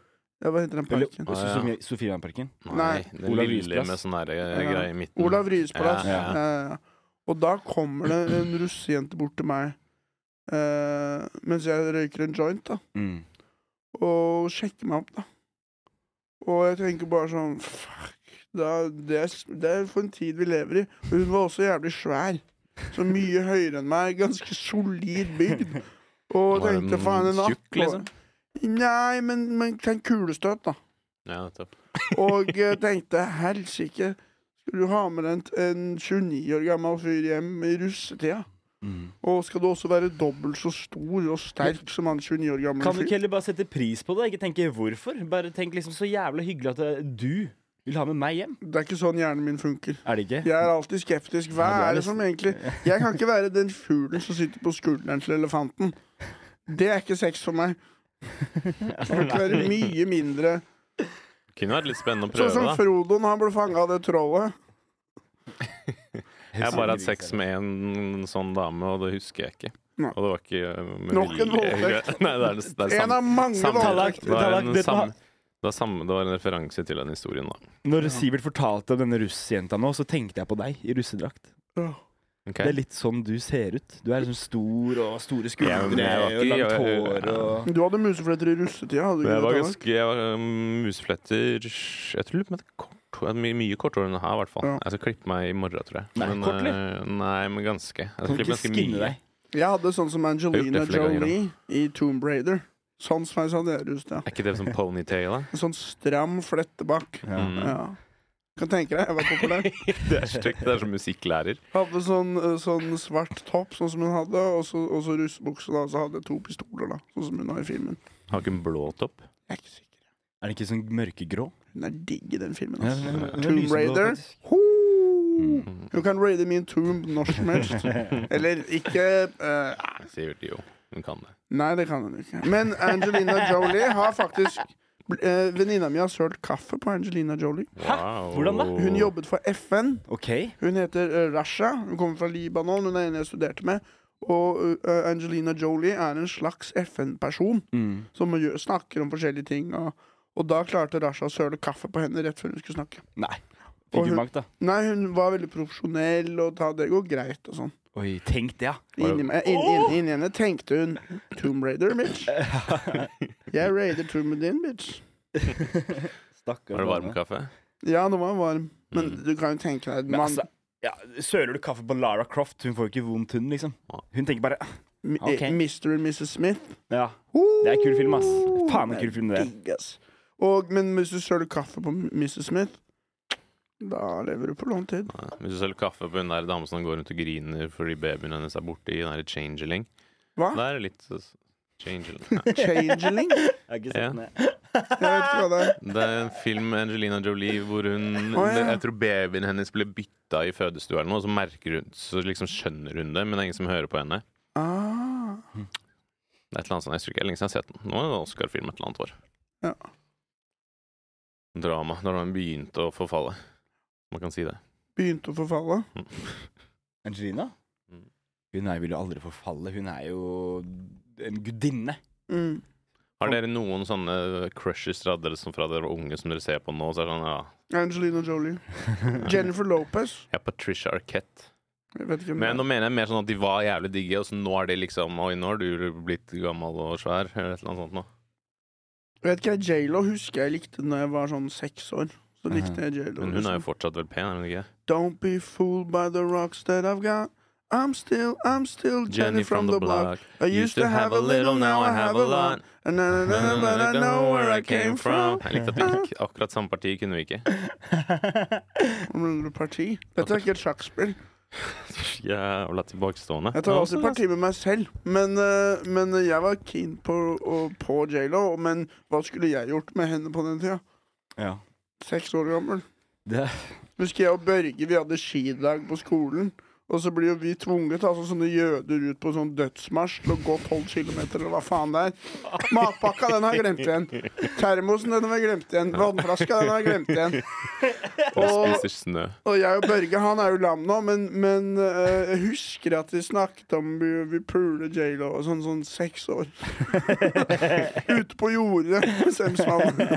B: Ja, hva heter den
C: Eller
B: parken?
D: Ah, ja.
C: Sofie- Sofiemannparken.
B: Nei,
D: den
C: Olav
D: lille
C: Rysplass.
D: med sånn der eh,
B: Ja.
D: greie i midten.
B: Olav Ryes plass
D: Ja, ja.
B: Eh, Og da kommer det en russejente bort til meg eh, Mens jeg røyker en joint da
C: Mm.
B: Og sjekker meg opp da Og jeg tenker bare sånn Fuck da, det, er, s- det er for en tid vi lever i Og hun var også jævlig svær Så mye høyere enn meg Ganske solid bygd Og
D: Var
B: tenkte
D: den
B: faen en natt
D: tjukk, liksom?
B: Nei, men, men tenk kulestøt da
D: Ja, nettopp.
B: Og eh, tenkte helsike Skal du ha med en, en 29 år gammel fyr hjem i russetida
C: Mm.
B: Og skal du også være dobbelt så stor Og sterk som han 29 år gamle
C: Kan du
B: fyr
C: ikke heller bare sette pris på det? Ikke tenke hvorfor. Bare tenk liksom så jævla hyggelig at eh, du vil ha med meg hjem.
B: Det er ikke sånn hjernen min funker
C: Er det ikke?
B: Jeg er alltid skeptisk. Hva
C: Ja, du
B: er
C: er
B: det
C: litt-
B: som egentlig Jeg kan ikke være den fuglen som sitter på skulderen til elefanten. Det er ikke sex for meg. Jeg burde ikke være mye mindre
D: Kunne vært litt spennende å
B: Sånn som
D: prøve, da.
B: Frodoen, han ble fanga av det trollet.
D: Jeg har bare hatt sex med en sånn dame, og det husker jeg ikke.
B: Nei.
D: Og det var ikke eh, med
B: Nok en
D: vilje.
B: voldtekt.
D: Nei, det er, det er
B: En
D: samme.
B: av mange
D: samme-
C: Tallak,
B: voldtekter.
D: Det var,
C: Tallak,
D: en
C: vet du
D: samme,
C: hva?
D: det, var samme, det var en referanse til den historien, da.
C: Når Sivert fortalte om denne russjenta nå, så tenkte jeg på deg i russedrakt.
D: Ok.
C: Det er litt sånn du ser ut. Du er liksom stor og store
D: Ja,
C: skuldre
D: men jeg var
C: og
D: ikke-
C: langt
D: jeg-
C: hår og
B: Du hadde musefletter i russetida, hadde du
D: Men
B: ikke
D: jeg var
B: det? Tallak?
D: ganske Jeg var um, musefletter Jeg tror det er kort jeg hadde mye, mye kortere enn det her, i hvert fall.
B: Ja.
D: Jeg skal klippe meg i morgen, tror jeg.
C: Nei,
D: men,
C: kort, eller?
D: eh, nei, men ganske. Jeg skal
C: Kan du
D: klippe
C: ikke
D: ganske
C: skinne
D: mye.
C: deg?
B: Jeg hadde sånn som Angelina
D: Jeg har gjort det flere ganger,
B: Jolie i Tomb Raider. Sånn sveis hadde jeg i russetida.
D: Er ikke det som ponytail, da?
B: En sånn stram flette bak.
C: Ja.
D: Mm.
B: Ja. Kan tenke deg, jeg var populær.
D: Det er stygt. Det er som musikklærer.
B: Hadde sånn, eh, sånn svart topp, sånn som hun hadde, og så, og så russebukse. da, Og så hadde jeg to pistoler, da, sånn som hun har i filmen.
D: Har ikke en blå topp.
B: Jeg er ikke sikker.
C: Er det ikke sånn mørkegrå?
B: Hun er digg i den filmen.
C: Ja,
B: Altså.
C: men- men
B: Tomb
C: lyseblå,
B: Raider.
C: faktisk. Mm.
B: Ho!
D: Mm,
B: Hun kan raide min tomb når som helst. Eller ikke eh,
D: Sivert, jo. Hun kan det.
B: Nei, det kan hun ikke. Men Angelina Jolie har faktisk eh, Venninna mi har sølt kaffe på Angelina Jolie.
D: Wow.
C: Hvordan da?
B: Hun jobbet for FN.
C: OK.
B: Hun heter eh, Rasha. Hun kommer fra Libanon. Hun er en jeg studerte med. Og eh, Angelina Jolie er en slags FN-person
C: Mm.
B: som gjør, snakker om forskjellige ting. Og, og da klarte Rasha å søle kaffe på henne rett før hun skulle snakke.
C: Nei.
B: Og
C: Fikk
B: hun-
C: hun bank, da?
B: Nei, hun var veldig profesjonell, og ta det går greit og sånn.
C: Oi, tenk det, ja.
B: Inni meg- inni- inni- inni henne tenkte hun Tomb Raider, bitch. Jeg raider tomben din, bitch.
C: Stakkar.
D: Var det varm kaffe?
B: Ja, den var varm, men du kan jo tenke deg
C: Mm. Men
B: man,
C: altså, ja, søler du kaffe på Lara Croft? Hun får jo ikke vondt, hun, liksom. Hun tenker bare
B: mi-
C: ok.
B: Mr. og Mrs. Smith.
C: Ja. Det er en kul film, ass. Faen, en kul film det er.
B: Digg, ass. Og, men hvis du søler kaffe på Mrs. Smith, da lever du på lånt tid.
D: Nei. Hvis du selger kaffe på hun der damen som går rundt og griner fordi babyen hennes er borte i den der changeling
B: Hva?
D: Da er det litt eh, changeling. Ja.
B: Changeling? Jeg
C: Jeg har ikke
D: Ja.
C: sett den, jeg.
B: vet ikke hva det er.
D: Det er en film med Angelina Jolie hvor hun
B: Å, ja.
D: Jeg tror babyen hennes ble bytta i fødestua eller noe, og så merker hun Så liksom skjønner hun det, men det er ingen som hører på henne.
B: Ah.
D: Det er et eller annet sånt, jeg husker ikke, det er lenge siden jeg har sett den. Nå er det en Oscar-film et eller annet år.
B: Ja.
D: Drama. Da den begynte å forfalle. Man kan si det.
B: Begynte å forfalle.
C: Angelina?
D: Mm.
C: Hun er, vil jo aldri forfalle. Hun er jo en gudinne.
B: Mm.
D: Har dere noen sånne crushes fra dere, som- fra dere var unge som dere ser på nå? Så er det sånn, ja,
B: Angelina Jolie. Jennifer Lopez.
D: jeg er Patricia Arquette.
B: Jeg vet ikke om
D: Men nå mener jeg mer sånn at de var jævlig digge, og så nå er de liksom Oi, nå har du blitt gammel og svær, eller et eller annet sånt nå.
B: Jeg vet ikke, J.Lo husker jeg likte når jeg var sånn seks år. Så likte jeg J.Lo.
D: Men hun er
B: liksom.
D: jo fortsatt vel pen, er hun ikke?
B: Don't be fooled by the rocks that I've got. I'm still, I'm still Jenny, from, the block. I used to have a little, now I have a lot. And na, na, na, na, but I know where I came from.
D: Jeg likte at vi ikke akkurat samme parti kunne vi ikke.
B: Om du Parti. Dette er ikke et sjakkspill.
D: Jævla tilbakestående.
B: Jeg tar alltid parti med meg selv. Men, eh, men jeg var keen på, å- på J.Lo. Men hva skulle jeg gjort med henne på den tida?
C: Ja.
B: Seks år gammel.
C: Det,
B: Husker jeg og Børge, vi hadde skidag på skolen. Og så blir jo vi tvunget, altså sånne jøder ut på sånn dødsmarsj til å gå 12 km, eller hva faen det er. Matpakka, den har jeg glemt igjen. Termosen, den har jeg glemt igjen. Vannflaska, den har jeg glemt igjen.
D: Og spiser snø.
B: Og jeg og Børge, han er jo lam nå, men, men eh, jeg husker at vi snakket om vi, vi puler J.Lo og sånn, sånn seks år. Ute på jordet med Semsmannen.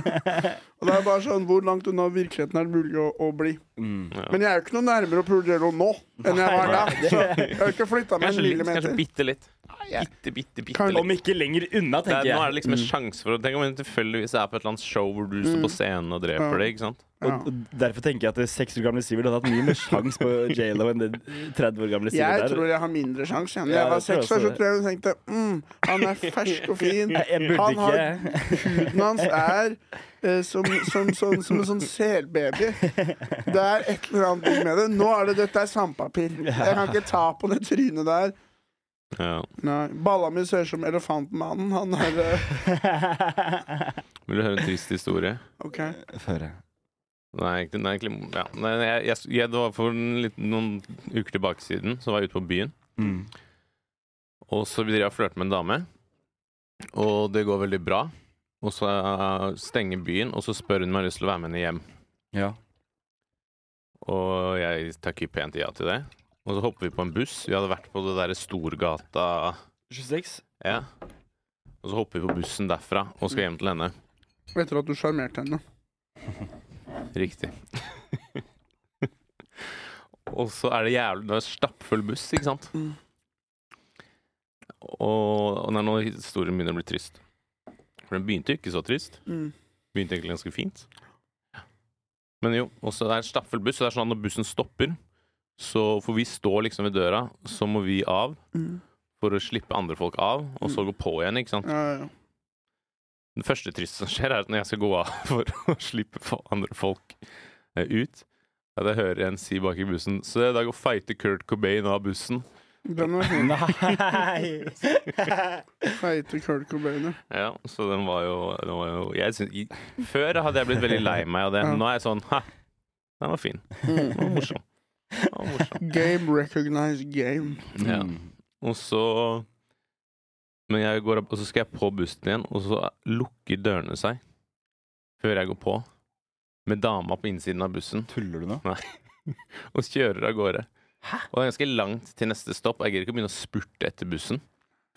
B: Og det er bare sånn, hvor langt unna virkeligheten er det mulig å, å bli? Men jeg er jo ikke noe nærmere å pule J.Lo nå enn jeg var da. Så jeg har ikke flytta meg
D: Kanskje
B: en
D: litt, kanskje
B: millimeter.
D: bitte litt. Bitte, bitte, bitte
B: Kan-
D: litt.
C: om ikke lenger unna,
D: Det er,
C: Ah, tenker
D: nå
C: jeg.
D: er det liksom en
B: Mm.
D: sjanse for å Tenk om hun tilfeldigvis er på et eller annet show hvor du står på scenen og dreper
B: Ja.
D: det, ikke sant?
B: Ja.
C: Og og Derfor tenker jeg at det seks år gamle Sivert hadde hatt mye mer sjans på J.Lo enn det 30 år gamle
B: Jeg
C: Sivert
B: tror
C: der.
B: jeg har mindre sjanse. igjen.
C: Ja,
B: Jeg var
C: jeg tror
B: seks år,
C: også
B: så tror jeg hun tenkte mm, han er fersk og fin.
C: Jeg, jeg burde
B: Han har
C: ikke
B: Huden hans er eh, som, som, som, som en sånn selbaby. Det er et eller annet digg med det. Nå er det dette er sandpapir. Jeg kan ikke ta på det trynet der.
D: Ja.
B: Nei, Balla mi ser ut som Elefantmannen. Han er eh,
D: Vil du høre en trist historie?
B: OK.
C: Føre.
D: Nei, egentlig, nei, egentlig ja. nei, jeg, jeg, jeg, Det var for en liten- noen uker tilbake siden, så var jeg ute på byen.
C: Mm.
D: Og så blir jeg flørte med en dame, og det går veldig bra. Og så eh, stenger byen, og så spør hun om jeg har lyst til å være med henne hjem.
C: Ja.
D: Og jeg takker pent ja til det. Og så hopper vi på en buss. Vi hadde vært på det derre Storgata
C: 26?
D: Ja. Og så hopper vi på bussen derfra og skal hjem til henne.
B: Etter at du sjarmerte henne.
D: Riktig. og så er det jævlig Det er en stappfull buss, ikke sant?
B: Mm.
D: Og, og nei, nå historien begynner å bli trist. For den begynte jo ikke så trist.
B: Mm.
D: Begynte egentlig ganske fint. Men jo, også det er en stappfull buss, så det er sånn at når bussen stopper så For vi står liksom ved døra, så må vi av
B: Mm.
D: for å slippe andre folk av, og så gå på igjen, ikke sant?
B: Ja, ja.
D: Det første triste som skjer, er at når jeg skal gå av for å slippe fa- andre folk eh, ut, at jeg hører en si bak i bussen Så i dag å fighte Kurt Cobain av bussen.
B: Den var fin.
C: Nei!
B: Feite Kurt Cobain. ja.
D: Ja, så den var jo, den var jo jeg syns- i, Før hadde jeg blitt veldig lei meg av det.
B: Ja.
D: Nå er jeg sånn Ha, den var fin. Den var morsom. Den var morsom.
B: Mm. Game recognize game.
C: Mm.
D: Ja. Og så Men jeg går opp, og så skal jeg på bussen igjen, og så lukker dørene seg før jeg går på. Med dama på innsiden av bussen.
C: Tuller du nå?
D: og kjører av gårde. Og det er ganske langt til neste stopp. Jeg gidder ikke å begynne å spurte etter bussen.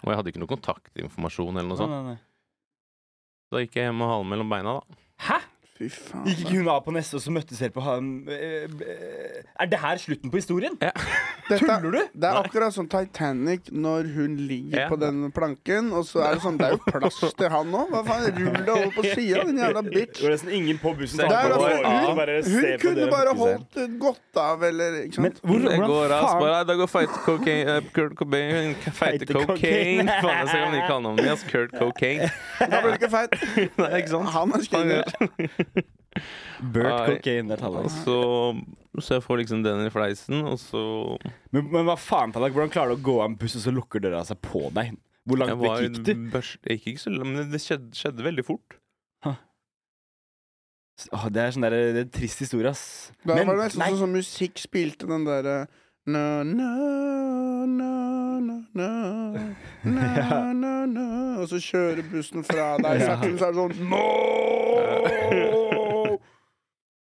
D: Og jeg hadde ikke noe kontaktinformasjon eller noe sånt.
C: nei, nei.
D: Da gikk jeg hjem med halen mellom beina, da.
B: Fy faen.
C: Gikk
B: da.
C: ikke hun av på neste, og så møttes dere på han eh, eh, Er det her slutten på historien?
B: Dette,
C: Tuller du?
B: det er akkurat som Titanic når hun ligger
D: Ja.
B: på den planken, og så er det sånn Det er jo plass til han òg. Hva faen? Rull deg over på sida, din jævla bitch.
C: Det var nesten ingen på bussen.
D: Det er
C: som
B: altså-
C: var ute og bare
B: Hun
C: ser på
B: kunne
C: dere
B: bare
C: og fokusere.
B: holdt eh, godt av, eller ikke
C: Men
B: sant?
C: hvor,
D: Jeg går av
C: hvordan faen
D: spara. Da går fight cocaine eh, Kurt Cobain Feite
C: Feite cocaine.
D: cocaine. Faen, jeg skal ikke kalle navnet hans. Kurt Cocaine.
B: Da blir det ikke feit.
D: Nei, ikke sant?
B: Han er skinner.
C: Bert
D: Nei.
C: Cocaine der
D: Og
C: taler
D: så, så jeg får liksom den i fleisen, og så
C: men, men hva faen, Tallak? Hvordan klarer du å gå av en buss, og så lukker døra seg på deg? Hvor langt
D: jeg
C: vekk
D: var
C: gikk du?
D: børs- Jeg gikk ikke så langt, men det skjedde, skjedde veldig fort.
C: Åh, det er sånn der, det er en trist historie, ass.
B: Da
C: Men-
B: var det nesten
C: nei.
B: sånn som musikk spilte den eh, derre Na, na, na, na, na, na, na, na. Og så kjører bussen fra deg sakte, men så er det sånn No!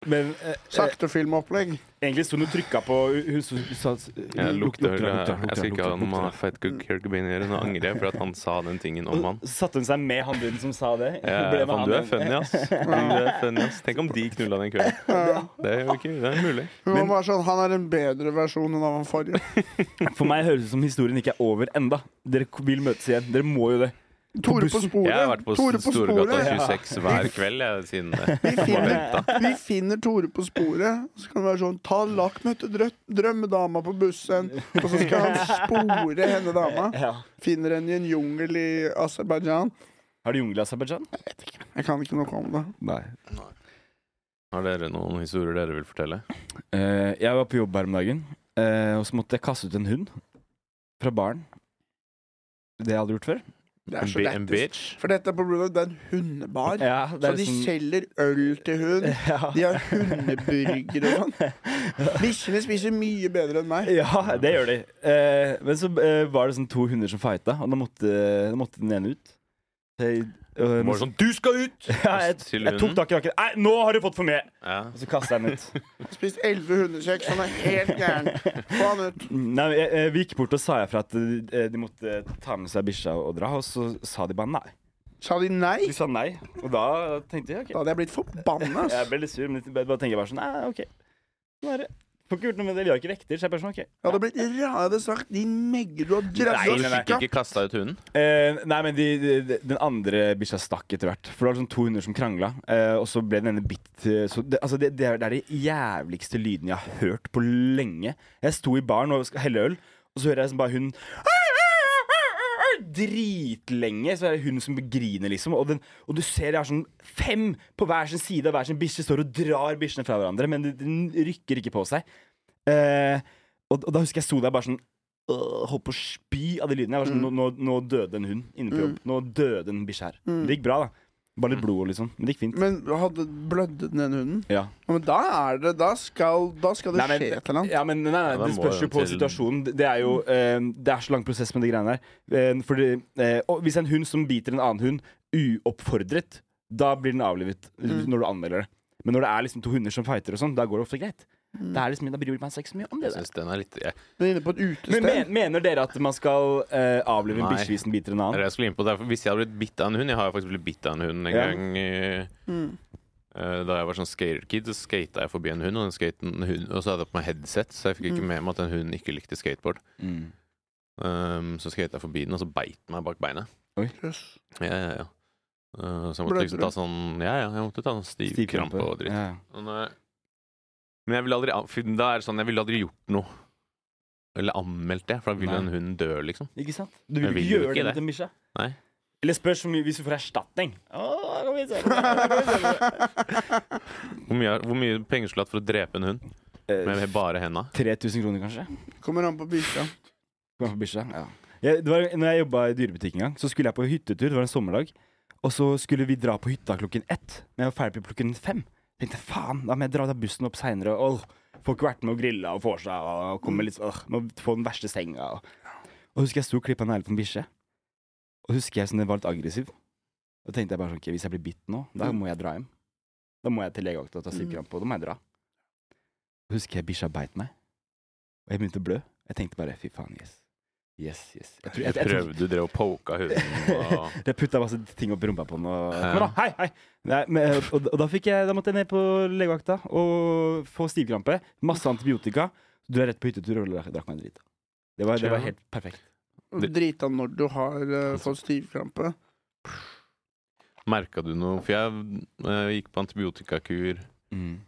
C: Men eh, eh,
B: Sakte filmopplegg.
C: Egentlig sto hun og trykka på Hun sto- hun sa
D: Jeg lukter, Jeg skal ikke ha noe
C: lukter.
D: med Fight Good Kirkbin å gjøre. Nå angrer jeg for at han sa den tingen om han.
C: Så Satte hun seg med han duden som sa det?
D: Ja,
C: Ble med
D: faen,
C: han
D: du er
C: duden.
D: funny, ass. Du er funny, ass. Tenk om de knulla den kvelden. Det er jo ikke det er mulig.
B: Hun var bare sånn, Han er en bedre versjon enn av han forrige.
C: For meg høres det ut som historien ikke er over enda. Dere k- vil møtes igjen. Dere må jo det.
B: Tore på
C: bussen.
B: sporet.
D: Jeg har vært på
B: Tore på
D: Storgata
B: sporet.
D: 26 hver kveld jeg, siden det.
B: Vi finner, vi finner Tore på sporet. Så kan det være sånn Ta lakk, møte drø- drømmedama på bussen. Og så skal han spore henne dama.
C: Ja.
B: Finner henne i en jungel i Aserbajdsjan.
C: Har du jungel i Aserbajdsjan?
B: Jeg kan ikke noe om det.
C: Nei.
D: Har dere noen historier dere vil fortelle?
C: Eh, jeg var på jobb her om dagen, eh, og så måtte jeg kaste ut en hund fra baren. Det jeg hadde gjort før.
B: Det
D: En,
B: er så
D: bi en
B: lættis.
D: bitch?
B: For dette er på Bruno, det er en hundebar.
C: Ja, det
B: Så
C: er
B: de
C: sånn-
B: selger øl til hund.
C: Ja.
B: De har hundeburgere og sånn. Bikkjene spiser mye bedre enn meg.
C: Ja, det gjør de. Eh, men så eh, var det sånn to hunder som fighta, og da måtte, da måtte den ene ut. Jeg, eh,
D: Hun var sånn 'Du skal ut!'
C: ja, jeg,
D: til
C: jeg tok
D: hunden.
C: tak i rakken. Nei, nå har du fått for mye!
D: Ja.
C: Og så kasta jeg den ut.
B: Spist elleve hundekjeks, han er helt gæren. Få han ut.
C: Nei, jeg, jeg, Vi gikk bort og sa ifra at eh, de måtte ta med seg bikkja og dra, og så sa de bare nei.
B: Sa de nei?
C: De sa nei, og da tenkte jeg OK.
B: Da hadde jeg blitt forbanna.
C: Jeg
B: ass.
C: ble litt sur, men jeg bare tenker bare sånn Nei, OK. Nå er det. Får ikke gjort noe med det. Vi har ikke vekter, så jeg bare sånn OK.
B: Jeg hadde blitt rar, jeg hadde sagt din megge du har
C: Nei,
D: Så
B: drevet
D: du
C: nei, nei.
D: fikk ikke kasta ut hunden?
C: Eh, nei, men de, de, de, den andre bikkja stakk etter hvert. For det var sånn to hunder som krangla, eh, og så ble den ene bitt. eh, Så det, altså det, det, er, det er de jævligste lydene jeg har hørt på lenge. Jeg sto i baren og skal helle øl, og så hører jeg sånn bare hun Dritlenge. Så er det hun som griner, liksom. Og, den, og du ser det er sånn fem på hver sin side av hver sin bikkje står og drar bikkjene fra hverandre, men den rykker ikke på seg. Eh, og, og da husker jeg sto der bare sånn øh, Holdt på å spy av de lydene. Jeg var
B: Mm.
C: sånn, nå, nå, nå døde en hund inne på jobb. Nå døde en bikkje her. Det gikk bra, da. Bare litt blod og liksom. Men det gikk fint.
B: Mm. Men hadde blødde den ene hunden?
C: Ja.
B: Ja, Men da er det Da skal, da skal det
C: Nei, men,
B: skje et eller annet. Mm.
C: ja, men nei, nei,
D: da
C: det
D: må
C: spørs jo
D: jo
C: på
D: til-
C: situasjonen. Det- Det er jo eh, Det er så lang prosess med de greiene der. Eh, fordi, eh, og hvis en hund som biter en annen hund uoppfordret, da blir den avlivet
B: Mm.
C: når du anmelder det. Men når det er liksom to hunder som fighter, og sånn, da går det ofte greit.
B: Mm.
C: Da, er liksom, da bryr man seg ikke så mye om det.
D: Jeg
C: der.
D: synes den er litt jeg,
B: Men inne på et
C: Men
B: utested.
C: men, mener dere at man skal eh, avlive en
D: Nei.
C: bikkje hvis den biter en
D: det er
C: annen?
D: det jeg skulle inn på. Det er for- Hvis jeg hadde blitt bitt av en hund Jeg har jo faktisk blitt bitt av en hund en
C: Ja.
D: gang. eh,
B: Mm.
D: eh, Da jeg var sånn skaterkid, så skata jeg forbi en hund, og, den skaten, hund, og så hadde jeg på meg headset, så jeg fikk ikke
B: Mm.
D: med meg at den hunden ikke likte skateboard.
C: Mm.
D: Um, så skata jeg forbi den, og så beit den meg bak beinet.
B: Jøss.
D: Ja, ja, ja. Uh, så jeg
B: Blødde
D: måtte liksom
B: du?
D: ta sånn Ja, ja, jeg måtte ta sånn stiv, krampe og dritt.
C: Ja.
D: Men, eh, Men jeg ville aldri an- for Da er det sånn Jeg ville aldri gjort noe. Eller anmeldt det, for da vil
C: Nei.
D: en hund dø, liksom.
C: Ikke sant? Du
D: Jeg
C: vil
D: vil
C: ikke
D: jo
C: gjøre
D: ikke
C: det
D: det.
C: til en bikkje.
D: Nei.
C: Eller spør så mye hvis du får erstatning. Åh, da kan vi se.
D: Hvor mye, hvor mye penger skulle du hatt for å drepe en hund? Med, med bare henda?
C: 3000 Eh, kroner, kanskje?
B: Kommer an på bikkja.
C: Kan jeg få bikkje? Ja. Jeg, det var, når jeg jobba i dyrebutikk en gang, så skulle jeg på hyttetur. Det var en sommerdag. Og så skulle vi dra på hytta klokken ett, men jeg var ferdig på klokken fem. Jeg tenkte faen, da må jeg dra da bussen opp seinere. Får ikke vært med og grilla og vorsa og komme litt åh, Må få den verste senga og Og husker jeg sto og klippa negler på en bikkje. Og husker jeg sånn, den var litt aggressiv. Da tenkte jeg bare sånn ok, hvis jeg blir bitt nå, da må jeg dra hjem. Da må jeg til legevakta og ta stivkrampe, og da må jeg dra. Og husker jeg bikkja beit meg, og jeg begynte å blø. Jeg tenkte bare fy faen, yes. Yes, yes. Jeg, tror- jeg,
D: Jeg
C: jeg, jeg,
D: prøvde, du drev og poka hunden og
C: jeg, putta masse ting opp i rumpa på den og
D: Ja.
C: Kom da, hei, hei! Nei, men, eh, og, og da, fikk jeg, da måtte jeg ned på legevakta og få stivkrampe. Masse antibiotika. Du er rett på hyttetur og drakk drakk meg en drit. Det var, det var helt perfekt.
B: Drita når du har eh, fått stivkrampe.
D: Merka du noe? For jeg eh, gikk på antibiotikakur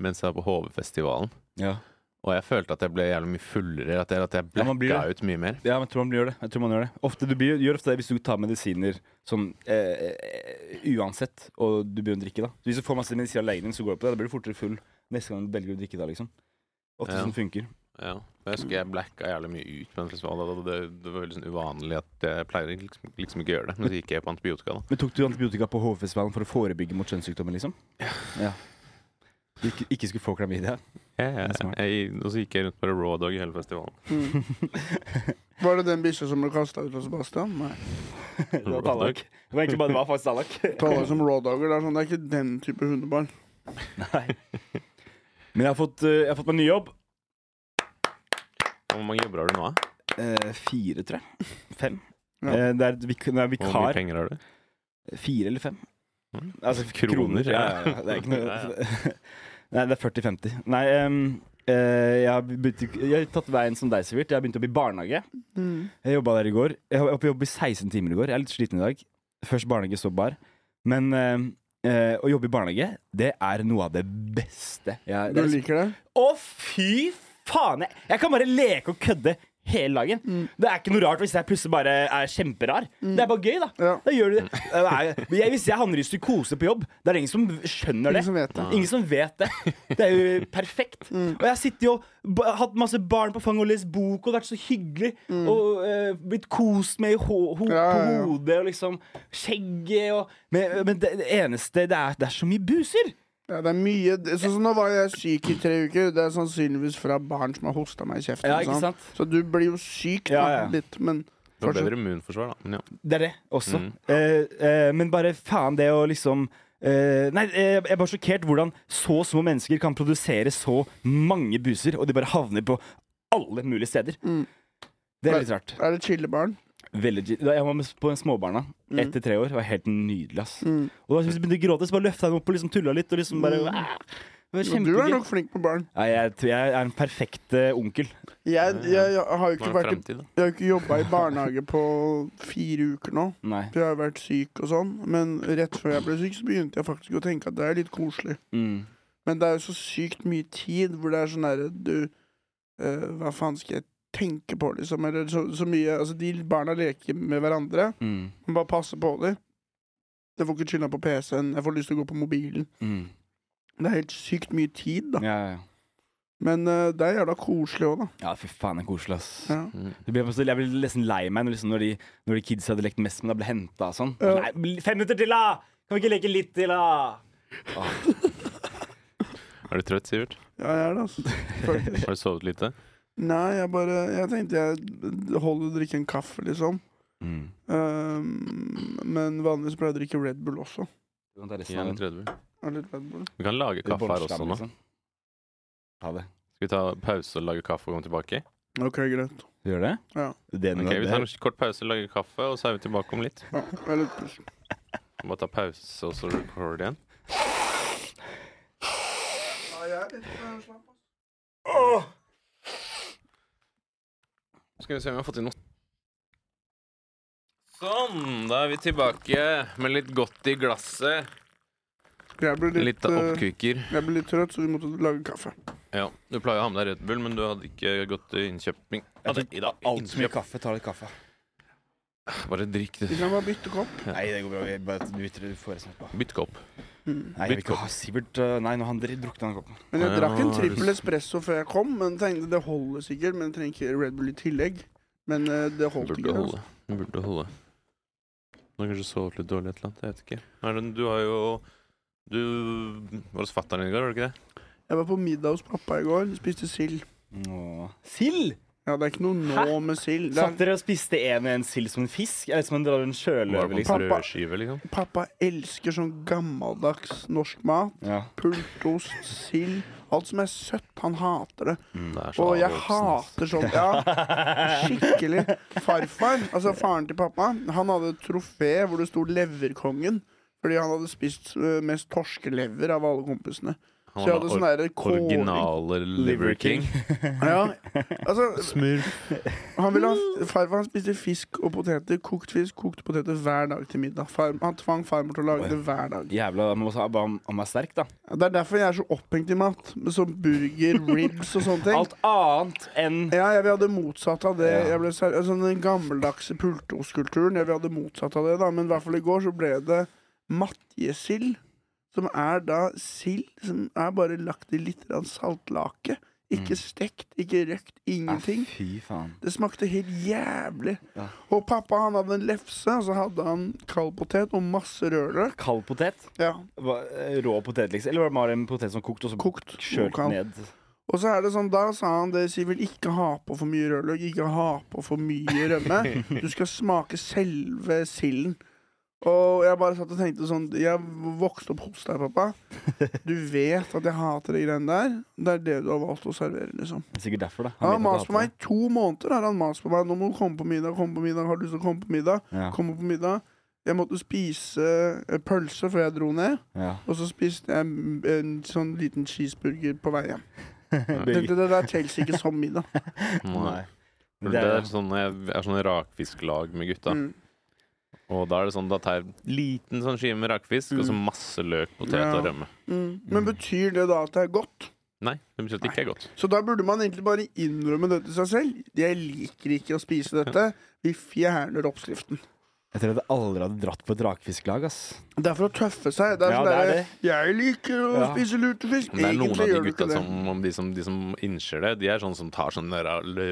D: mens jeg var på HV-festivalen.
C: Mm. Ja.
D: Og jeg følte at jeg ble jævlig mye fullere. At jeg, at jeg
C: Ja, man
D: blacka
C: blir det.
D: ut mye mer.
C: Ja, men jeg tror man gjør det. Jeg tror man gjør det. Ofte, du blir, gjør ofte det hvis du tar medisiner sånn eh, eh, uansett, og du begynner å drikke, da. Hvis du får masse medisiner av legen din, så går det på det. Da blir du fortere full neste gang du velger å drikke da, liksom. Ofte
D: Ja.
C: sånn funker.
D: Ja. Og Jeg husker jeg blacka jævlig mye ut på den festivalen. og Det, det var veldig sånn uvanlig at jeg pleier liksom, liksom ikke å gjøre det. Men så gikk jeg på antibiotika, da.
C: Men tok du antibiotika på HV-festivalen for å forebygge mot kjønnssykdommer, liksom? Ja. Du ikke, ikke skulle få klamydia?
D: Jeg,
C: Det er smart.
D: jeg, og så gikk jeg rundt med raw dog i hele festivalen.
B: Mm. Var det den bikkja som ble kasta ut av Sebastian? Nei.
C: det var Tallak. Det var egentlig bare det var faktisk Tallak.
B: Ta det som råddager. Det er sånn, det er ikke den type hundebarn.
C: Men jeg har fått, eh, jeg har fått meg ny jobb.
D: Hvor mange jobber har du nå? da?
C: Eh, fire, tror jeg. Fem.
B: Ja.
C: Eh, det er et vik det er
D: Hvor mye
C: vikar.
D: penger har du?
C: Fire eller fem.
D: Mm.
C: Altså
D: Kroner,
C: kroner. ja, ja, ja. Det er ikke noe Nei, det er 40-50. Nei, em, eh, jeg, har begynt, jeg har tatt veien som deg, Sivert. Jeg har begynt å jobbe i barnehage.
B: Mm.
C: Jeg jobba der i går. Jeg var oppe i jobb i 16 timer i går. Jeg er litt sliten i dag. Først barnehage, så bar. Men eh, eh, å jobbe i barnehage, det er noe av det beste. Jeg,
B: Du
C: det er,
B: liker det?
C: å, fy faen! Jeg, jeg kan bare leke og kødde hele dagen.
B: Mm.
C: Det er ikke noe rart hvis jeg plutselig bare er kjemperar. Det er bare gøy, da.
B: Ja.
C: Da gjør du det. Det er- jeg, hvis jeg havner i psykose på jobb, det er ingen som skjønner det.
B: Ingen som vet det. Mm.
C: Ingen som vet det. Det er jo perfekt. Og jeg sitter jo og ba- hatt masse barn på fanget og lest bok og vært så hyggelig. Og eh, blitt kost med i ho ho
B: Mm. Ja, ja, ja.
C: på hodet og liksom skjegget og Men, men det, det eneste det er, det er så mye buser.
B: Ja, det er mye det- Sånn som nå var jeg syk i tre uker. Det er sannsynligvis fra barn som har hosta meg i kjeften.
C: Ja, ikke
B: sant?
C: sant?
B: Så du blir jo syk da,
C: Ja, ja.
B: litt, men
D: Du har
B: fortsatt-
D: bedre immunforsvar, da. Men ja.
C: Det er det også.
D: Mm.
C: Eh, eh, men bare faen det å liksom eh, Nei, eh, jeg er bare sjokkert hvordan så små mennesker kan produsere så mange buser, og de bare havner på alle mulige steder.
B: Mm.
C: Det er litt rart.
B: Er det chillebarn?
C: Veldig, gi- da jeg var med på en småbarna ett til tre år. Det var helt nydelig. ass.
B: Mm.
C: Og da jeg begynte å gråte, så bare løfta jeg meg opp og liksom tulla litt. Og liksom bare,
B: Mm.
C: "Ah!" det
B: Jo, Du
C: var
B: er
C: kjempegøy.
B: nok flink på barn.
C: Nei, jeg, tror jeg er en perfekt eh, onkel.
B: Jeg, jeg, jeg har jo
D: Hva
B: ikke,
D: er
B: vært-
D: fremtid, da?
B: jeg har jo ikke jobba i barnehage på fire uker nå.
C: Nei.
B: For jeg har vært syk og sånn. Men rett før jeg ble syk, så begynte jeg faktisk å tenke at det er litt koselig.
C: Mm.
B: Men det er jo så sykt mye tid hvor det er sånn derre Du, eh, hva faen skal jeg tenke på, liksom? Eller så, så mye Altså, de barna leker med hverandre.
C: Mm.
B: Men bare passe på dem. Jeg får ikke chilla på PC-en. Jeg får lyst til å gå på mobilen.
C: Mm.
B: Det er helt sykt mye tid, da.
C: Ja, ja, ja.
B: Men eh, det er jævla koselig òg, da.
C: ja, fy faen, det er koselig, ass.
B: Ja.
D: Mm.
C: Det ble, jeg ble nesten lei meg når, liksom, når, de, når de kids hadde lekt mest, men da ble henta og sånn.
B: Ja.
C: Nei, bli- fem minutter til, da! Kan vi ikke leke litt til, da?
D: Er du trøtt, Sivert?
B: Ja, jeg er det, altså. Faktisk.
D: Har du sovet lite?
B: Nei, jeg bare Jeg tenkte jeg holder å drikke en kaffe, liksom.
D: Mm.
B: Um, men vanligvis pleier jeg å drikke Red Bull også.
C: Du kan ta
D: Gi
C: resten av den.
D: en litt Red Bull.
B: Er det Red Bull?
D: Vi kan lage
C: Sånn. Det er
D: kaffe her
C: bolsjram,
D: også nå.
C: liksom. Ta det.
D: Skal vi ta pause og lage kaffe og komme tilbake?
B: Ok, greit.
C: Du gjør det?
B: Ja.
C: Det,
D: Ok, Vi tar en kort pause, lager kaffe, og så er vi tilbake om litt.
B: Ja, jeg er litt pust.
D: Bare ta pause, og så record igjen. Skal vi se om vi har fått inn noe Sånn! Da er vi tilbake med litt godt i glasset.
B: Jeg ble litt,
D: Litt av
B: eh,
D: oppkuker.
B: jeg ble litt trøtt, så vi måtte lage kaffe.
D: Ja, Du pleier å ha med deg Red Bull, men du hadde ikke gått til innkjøping. Ja, det- i dag,
C: Altfor mye
D: innkjøp.
C: kaffe. Ta litt kaffe.
D: Bare drikk,
B: Vi
D: du.
B: kan bare bytte kopp.
C: Nei, det går bra. Vi bare du bytter du får det snart på.
D: Bytt kopp.
B: Mm.
C: Nei, jeg vil ikke ha Sivert øh, Nei, nå han dri- drukna den koppen.
B: Men jeg
D: Ja,
B: drakk en
D: har du
B: trippel
D: s-
B: espresso før jeg kom, men tenkte det holder sikkert. Men jeg trenger ikke Red Bull i tillegg. Men eh, det holdt
D: Burde
B: ikke.
D: holde.
B: Altså.
D: Den Burde holde. Du har kanskje sovet litt dårlig et eller annet. Jeg vet ikke. Hva Er det, du har jo Du var hos fatter'n i går, var du ikke det?
B: Jeg var på middag hos pappa i går, spiste sild.
C: Åh. Sild!
B: Ja, det er ikke noe nå med sild. Det
C: Satt
B: er-
C: dere og spiste en og en sild som en fisk? Eller som en, en
D: Var
C: sjøløve?
D: det på
C: Liksom.
D: en
B: Pappa.
D: brødskive, liksom?
B: Pappa elsker sånn gammeldags norsk mat.
C: Ja.
B: Pultost, sild. Alt som er søtt. Han hater det.
D: Det er så
B: Og jeg
D: avvoksen, ass.
B: hater sånt. Ja, skikkelig. Farfar, altså faren til pappa, han hadde et trofé hvor det sto 'Leverkongen'. Fordi han hadde spist eh, mest torskelever av alle kompisene. Så jeg
D: Han var
B: hadde
D: den
B: sånn derre kåling.
D: originale Liver
C: Liver
D: King.
B: Ja, altså,
D: Smurf.
B: han ville ha, farfar han spiste fisk og poteter, kokt fisk, kokte poteter hver dag til middag. Far, han tvang farmor til å lage det hver dag.
C: Jævla Man må ha man må være sterk, da.
B: Det er derfor jeg er så opphengt i mat. med Sånn burger, ribs og sånne ting.
C: Alt annet enn
B: Ja, jeg vil ha det motsatte av det.
C: Ja.
B: Jeg ble ser- altså, den gammeldagse pultostkulturen. Jeg vil ha det motsatte av det, da. Men i hvert fall i går så ble det matjesild. Som er da sild som er bare lagt i litt grann saltlake. Ikke stekt, ikke røkt, ingenting.
C: Ja, Mm. Ah, fy faen.
B: Det smakte helt jævlig.
C: Ja.
B: Og pappa han hadde en lefse, og så hadde han kald potet og masse rødløk.
C: Kald potet?
B: Ja,
C: Hva- eh, Rå potet, liksom? Eller var det bare en potet som kokte, og så
B: kokt. og
C: kjølt
B: kald.
C: ned?
B: Og så er det sånn, da sa han det, Sivert, ikke ha på for mye rødløk, ikke ha på for mye rømme. Du skal smake selve silden. Og jeg bare satt og tenkte sånn Jeg vokste opp hos deg, pappa. Du vet at jeg hater de greiene der. Det er det du har valgt å servere, liksom.
C: Det er sikkert derfor, da.
B: Han har
C: vet at
B: mast
C: jeg
B: på meg i to måneder. har han mast på meg Nå må du komme på middag, komme på middag, har du lyst til å komme på middag?
C: hater det.
B: Komme på middag. Jeg måtte spise eh, pølse før jeg dro ned,
C: Ja.
B: og så spiste jeg en, en sånn liten cheeseburger på vei hjem.
C: ja.
B: Jeg Tenkte, det der teller ikke som middag.
D: Nei.
C: Men
D: Det
C: det er-
D: er sånn jeg er sånn rakfisklag med gutta.
B: Mm.
D: Og da er det sånn da tar jeg en liten sånn skive med rakfisk, og så masse løk, potet
B: Mm. Ja.
D: og rømme.
B: Mm. Men betyr det da at det er godt?
D: Nei, det betyr at det ikke er godt.
B: Så da burde man egentlig bare innrømme det til seg selv. Jeg liker ikke å spise dette. Vi fjerner oppskriften.
C: Jeg tror jeg aldri hadde dratt på et rakfisklag, ass.
B: Det er for å tøffe seg. Det er
C: Ja,
B: sånn
C: det er
B: der, Jeg liker å
C: Ja.
B: spise lutefisk.
D: Men det er noen
B: Egentlig
D: av de
B: gjør du
D: gutta
B: ikke det.
D: som, om de som, de som innser det, de er sånn som tar sånn der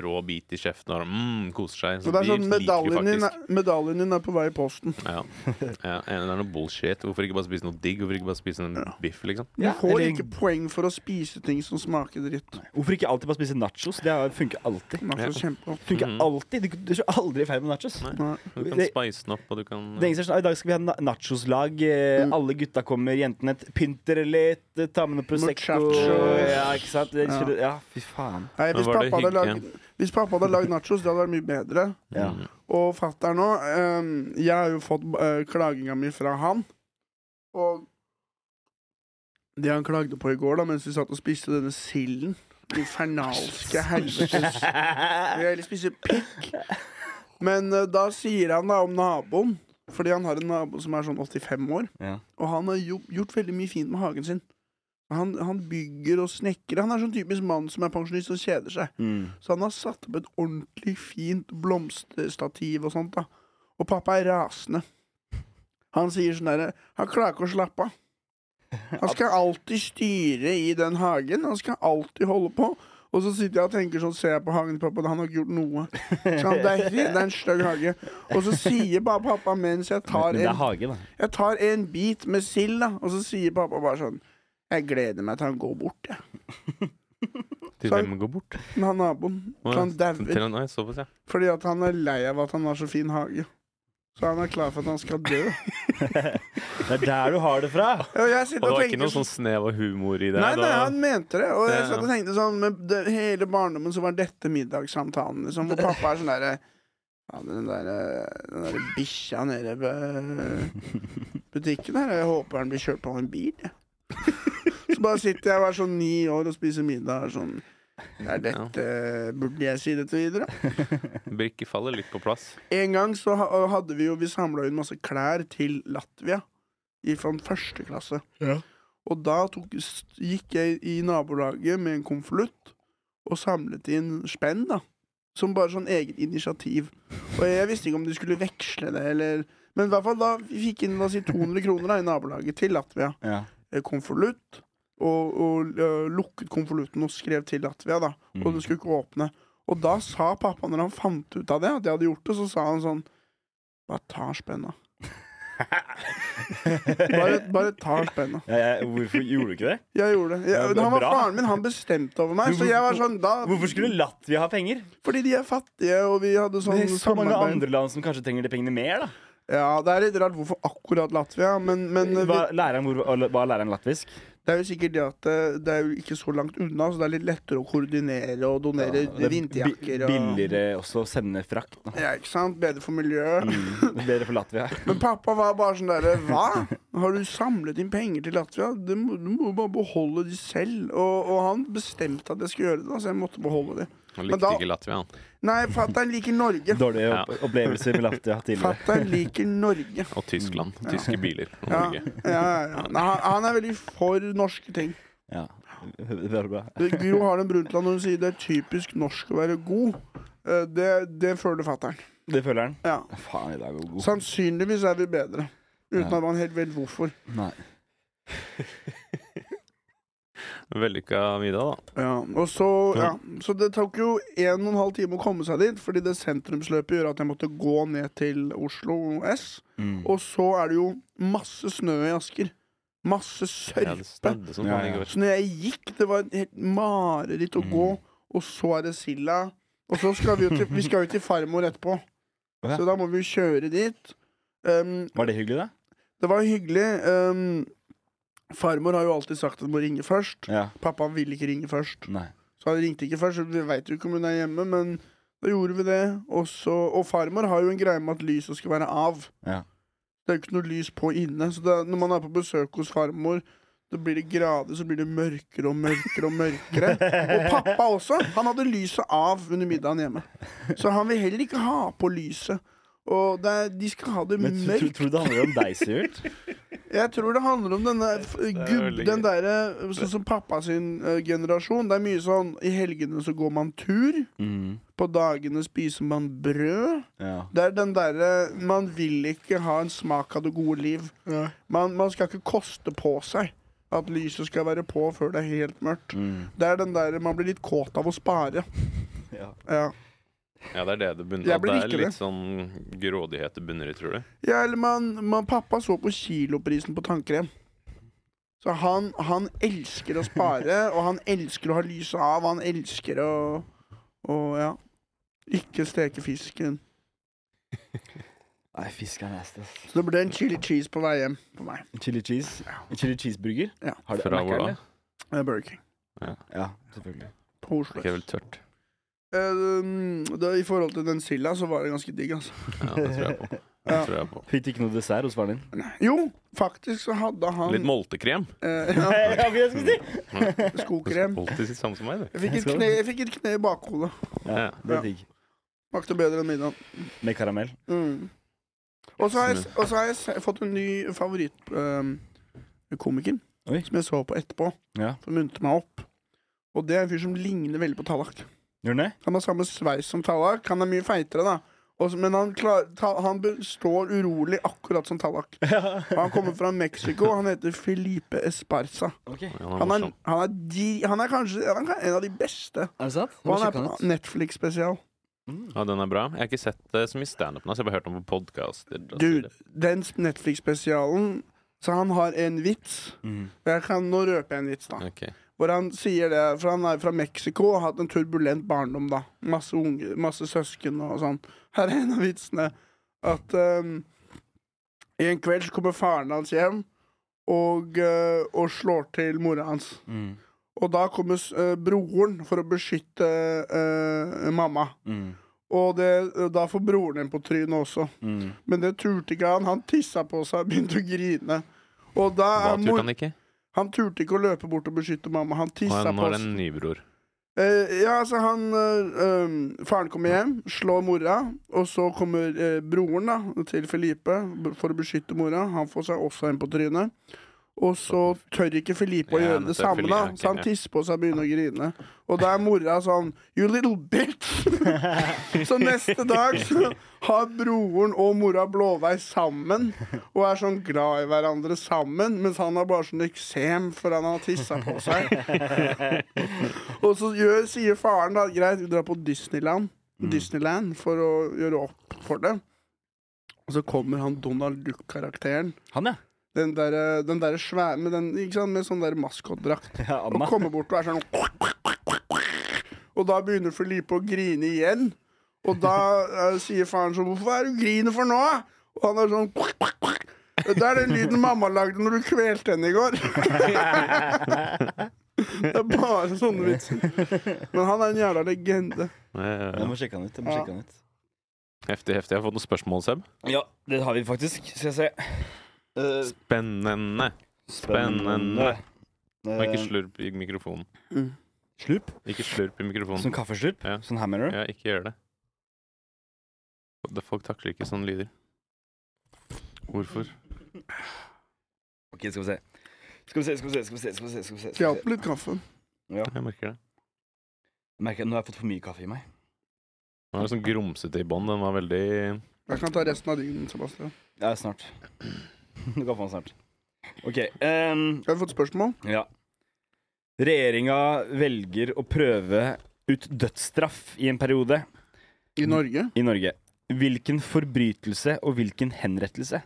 D: rå bit i kjeften og mm, koser seg.
B: Så det er
D: de
B: sånn,
D: liker det
B: medaljen din,
D: faktisk.
B: er, medaljen din er på vei i posten.
D: Ja. ja. enig, Det er noe bullshit. Hvorfor ikke bare spise noe digg? Hvorfor ikke bare spise en
B: Ja.
D: biff, liksom?
B: Du
C: Ja,
B: får
C: eller-
B: ikke poeng for å spise ting som smaker dritt.
C: Hvorfor ikke alltid bare spise nachos? Det er- funker alltid.
B: Man
D: Ja.
B: får kjempe opp.
C: Funker
D: Mhm.
C: alltid. Du, du er så aldri i feil med nachos.
D: Nei.
B: Nei.
D: Du kan
C: Det-
D: spice den opp, og du kan eh,
C: Det er ingen som er sånn, «Ah, I dag skal vi ha na- nachoslag. Eh,
B: Mm.
C: Alle gutta kommer, jentene t- pynter litt. eh, Ta med noe Prosecco.
B: Muchachos.
C: Ja, ikke sant? Det,
B: Ja.
C: ja, fy faen.
B: Nei,
D: Men
B: hvis,
D: var det
B: pappa hadde
D: hygge?
B: lagd, hvis pappa hadde lagd nachos, det hadde vært mye bedre.
C: Ja.
D: Mm.
B: Og fatter'n nå eh, Jeg har jo fått eh, klaginga mi fra han. Og det han klagde på i går, da mens vi satt og spiste denne silden Infernalske helvetes Jeg vil heller spise pikk. Men eh, da sier han da om naboen, fordi han har en nabo som er sånn 85 år.
C: Ja.
B: Og han har jo, gjort veldig mye fint med hagen sin. Han, han bygger og snekrer. Han er sånn typisk mann som er pensjonist og kjeder seg.
C: Mm.
B: Så han har satt opp et ordentlig fint blomsterstativ og sånt, da. Og pappa er rasende. Han sier sånn derre Han klarer ikke å slappe av. Han skal alltid styre i den hagen. Han skal alltid holde på. Og så sitter jeg og tenker sånn, ser jeg på hagen til pappa, han har ikke gjort noe. Så han, det, er, helt- det er en stygg hage. Og så sier bare pappa mens jeg
C: Men
B: tar
C: det er
B: en
C: hage, da.
B: jeg tar en bit med sild, da, og så sier pappa bare sånn Jeg gleder meg til han går bort, jeg.
D: Til
B: Så-
D: hvem går bort?
B: Med han naboen.
D: Å,
B: Så han
D: ja.
B: dauer.
D: Til han, nei, såpass, ja.
B: Fordi at han er lei av at han har så fin hage. Så han er klar for at han skal dø.
C: Det er der du har det fra.
B: Og jeg
D: Og
B: sitter
D: det
B: og
D: var ikke
B: tenker
D: noe sånn snev av humor i det?
B: Nei,
D: da?
B: nei, han mente det. Og jeg
D: Ja.
B: satt og tenkte sånn Med det, hele barndommen så var dette middagssamtalen, liksom. Og pappa er sånn derre ja, den der, eh, den der bikkja nede ved butikken her, jeg håper han blir kjørt på av en bil, jeg. Så bare sitter jeg og er sånn ni år og spiser middag og er sånn Er dette Burde jeg si dette videre?
D: Brikke faller litt på plass.
B: En gang så ha- hadde vi jo Vi samla inn masse klær til Latvia i- fra første klasse. Og da tok, s- gikk jeg i nabolaget med en konvolutt og samlet inn spenn, da. Som bare sånn eget initiativ. Og jeg visste ikke om de skulle veksle det, eller Men i hvert fall da vi fikk inn la oss si 200 kroner da, i nabolaget til Latvia.
C: Ja.
B: Eh, Konvolutt. Og, og eh, lukket konvolutten og skrev til Latvia, da
C: Mm.
B: og du skulle ikke åpne. Og da sa pappa, når han fant ut av det, at jeg hadde gjort det, så sa han sånn Bare ta spenna. bare, bare ta spenna.
C: Ja, jeg, hvorfor gjorde du ikke det?
B: Jeg gjorde det. Jeg,
C: Ja,
B: han var
C: bra.
B: faren min, han bestemte over meg. Så jeg var sånn da
C: Hvorfor skulle Latvia ha penger?
B: Fordi de er fattige, og vi hadde
C: Det
B: sånn
C: er så mange
B: samarbeid.
C: andre land som kanskje trenger de pengene mer, da.
B: Ja, det er litt rart hvorfor akkurat Latvia, men, men vi,
C: Var læreren, hvor, var læreren latvisk?
B: det er jo sikkert det at eh, det er jo ikke så langt unna, så det er litt lettere å koordinere og donere
C: Det er bi-
B: vinterjakker og
C: Billigere også å sende frakt. Da.
B: Ja, ikke sant? Bedre for miljøet.
C: Mm. Bedre for Latvia.
B: Men pappa var bare sånn derre Hva? Har du samlet inn penger til Latvia? Du må, du må jo bare beholde de selv. Og, og han bestemte at jeg skulle gjøre det, da, så jeg måtte beholde de.
D: Han
B: Men
D: likte
B: da-
D: ikke Latvia, han.
B: Nei, fatter'n liker Norge.
C: Dårlige
D: Ja.
C: opp opplevelser med Latvia tidligere.
B: Fatter'n liker Norge.
D: Og Tyskland. Tyske biler. Og
B: Mm. Ja, ja,
D: Norge.
B: ja. Nei, han, han er veldig for norske ting.
C: Ja. Det er bra.
B: Det- Gro Harlem Brundtland når hun sier det er typisk norsk å være god. Eh, Det, det føler fatter'n.
C: Det føler han.
B: Ja.
C: Faen, i dag er god.
B: Sannsynligvis er vi bedre. Uten
C: Ja.
B: at man helt vet hvorfor.
C: Nei.
D: Vellykka middag, da.
B: Ja, og så, ja. så det tok jo en og en halv time å komme seg dit, fordi det sentrumsløpet gjør at jeg måtte gå ned til Oslo S.
C: Mm.
B: Og så er det jo masse snø i Asker. Masse
D: Ja, det
B: sørpe.
D: snødde som
C: Ja,
D: faen i
C: ja.
D: går.
B: Så når jeg gikk, det var et helt mareritt å
C: Mm.
B: gå. Og så er det Silla. Og så skal vi jo til, vi skal jo til farmor etterpå.
C: Å ja.
B: Så da må vi jo kjøre dit. Um,
C: Var det hyggelig, da?
B: det var hyggelig. Um, farmor har jo alltid sagt at hun må ringe først.
C: Ja.
B: Pappa vil ikke ringe først.
C: Nei.
B: Så han ringte ikke først, så vi veit jo ikke om hun er hjemme, men da gjorde vi det. Og, så, og farmor har jo en greie med at lyset skal være av.
C: Ja.
B: Det er jo ikke noe lys på inne, så det, er- når man er på besøk hos farmor, så blir det grader, så blir det mørkere og mørkere og mørkere. Og pappa også. Han hadde lyset av under middagen hjemme. Så han vil heller ikke ha på lyset. Og det er, de skal ha det
C: Men tro- tro-
B: mørkt.
C: Tror du det handler om deg, Sivert?
B: Jeg tror det handler om denne f- gubb...
D: veldig
B: Den
D: gøy.
B: derre Sånn som pappa sin eh, generasjon. Det er mye sånn I helgene så går man tur.
C: Mm.
B: På dagene spiser man brød.
C: Ja.
B: Det er den derre Man vil ikke ha en smak av det gode liv. Man, man skal ikke koste på seg at lyset skal være på før det er helt mørkt.
C: Mm.
B: Det er den der man blir litt kåt av å spare.
C: Ja.
B: Ja.
D: Ja, det er det det bunner
B: Jeg
D: at
B: blir
D: Det er
B: likere.
D: litt sånn grådighet det bunner i, tror du?
B: ja eller man, man Pappa så på kiloprisen på tannkrem. Så han, han elsker å spare, og han elsker å ha lyset av. Han elsker å Og ja. Ikke steke fisken.
C: Nei, fisk er nasty, ass.
B: Så det ble en chili cheese på vei hjem for meg.
C: Chili cheese. Chili cheeseburger?
B: Ja.
C: Har du
D: Fra
C: Mac'en,
D: hvor da?
C: eller?
B: Det er Burger King.
C: Ja, selvfølgelig.
B: På Oslo
D: Ikke
B: S.
D: vel tørt.
B: Eh, da, I forhold til den silda, så var det ganske digg, altså.
D: Ja, det tror jeg på. Det
B: Ja.
D: tror jeg på.
C: Fikk du ikke noe dessert hos faren din?
B: Jo, faktisk så hadde han
D: Litt moltekrem.
B: eh,
C: Jeg har ikke det jeg skulle si!
B: ja, skokrem.
D: Alltid sitt samme som meg, du.
B: Jeg fikk, et kne, jeg fikk et kne i bakhodet.
C: Ja, det er digg.
B: Makte bedre enn middagen.
C: Med karamell.
B: Mm. Og så har jeg, og så har jeg se- fått en ny favorittkomiker,
C: Oi.
B: som jeg så på etterpå,
C: Ja.
B: som munte meg opp. Og det er en fyr som ligner veldig på Tallak.
C: Gjør den det?
B: Han har samme sveis som Tallak. Han er mye feitere, da. Og så- men han, klar, ta, han be- står urolig akkurat som Tallak. Og Han kommer fra Mexico. Han heter Felipe Esparza.
C: Ok.
D: Ja, han er
B: Han er,
D: morsom.
B: han er, dri- han er kanskje han er en av de beste.
F: Er det sant?
B: Og han er på Netflix-spesial.
D: Ja, den er bra. Jeg har ikke sett det så mye standup nå, så jeg har bare hørt om på podkaster.
B: Dude, den s- Netflix-spesialen Så han har en vits.
C: Mm.
B: Og Jeg kan, nå røper jeg en vits, da.
D: Ok.
B: Hvor han sier det, for han er fra Mexico og har hatt en turbulent barndom, da. Masse, unge, masse søsken og sånn. Her er en av vitsene. At ehm, en kveld så kommer faren hans hjem og, eh, og slår til mora hans.
C: Mm.
B: Og da kommer s- eh, broren for å beskytte eh, mamma.
C: Mm.
B: Og det, da får broren en på trynet også.
C: Mm.
B: Men det turte ikke han. Han tissa på seg og begynte å grine. Og da
D: Hva
B: er
D: turte
B: mor...
D: han ikke?
B: Han turte ikke å løpe bort og beskytte mamma. Han
D: Å,
B: tissa
D: ja, nå
B: på
D: er det
B: oss.
D: en ny bror.
B: Eh, ja, altså, han eh, um, Faren kommer hjem, slår mora, og så kommer eh, broren da til Felipe b- for å beskytte mora. Han får seg også en på trynet. Og så tør ikke Felipe å
D: Ja,
B: gjøre det
D: nettopp,
B: samme, da,
D: Felipe,
B: så han
D: ja.
B: tisser på seg og begynner å grine. Og da er mora sånn You little bitch! så neste dag så har broren og mora blåveis sammen og er sånn glad i hverandre sammen, mens han har bare sånn eksem for han har tissa på seg. Og så gjør, sier faren da Greit, vi drar på Disneyland Disneyland for å gjøre opp for det Og så kommer han Donald Duck-karakteren
C: Han, ja.
B: Den der, eh, den der svære Med, den, ikke sant, med sånn der maskotdrakt
C: ja
B: Og
C: Anna.
B: kommer bort og er sånn Og da begynner Felipe å grine igjen Og da eh, sier faren sånn Hvorfor er du griner for nå? da?» Og han er sånn Det er den lyden mamma lagde når du kvelte henne i går Det er bare sånne vitser men han er en jævla legende.
C: Jeg
D: Eh,
C: må sjekke han ut. Jeg må
B: Ja.
C: sjekke han ut.
D: Heftig, heftig. Jeg har fått noen spørsmål, Seb.
C: Ja, det har vi faktisk. Skal jeg se. Eh,
D: Spennende. Spennende. Må
C: eh,
D: ikke slurp i mikrofonen.
C: Slup?
D: Ikke slurp i mikrofonen.
C: Som kaffeslup?
D: Ja.
C: Sånn her, mener du?
D: Ja, ikke gjør det. Det- Folk takler ikke sånne lyder. Hvorfor?
C: Ok, skal vi se. Skal vi se, skal vi se, skal vi se. skal vi se, skal vi
B: Skal
C: se,
B: jeg
C: skal
B: ha
C: vi se.
B: på litt kaffe?
D: Jeg merker det.
C: Jeg Merker, nå har jeg fått for mye kaffe i meg.
D: Den var sånn grumsete i bånn. Den var veldig
B: Jeg kan ta resten av din, Sebastian.
C: Ja, snart. Du kan få den snart. OK. ehm,
B: Har vi fått spørsmål?
C: ja. Regjeringa velger å prøve ut dødsstraff i en periode
B: I Norge?
C: i Norge. Hvilken forbrytelse og hvilken henrettelse?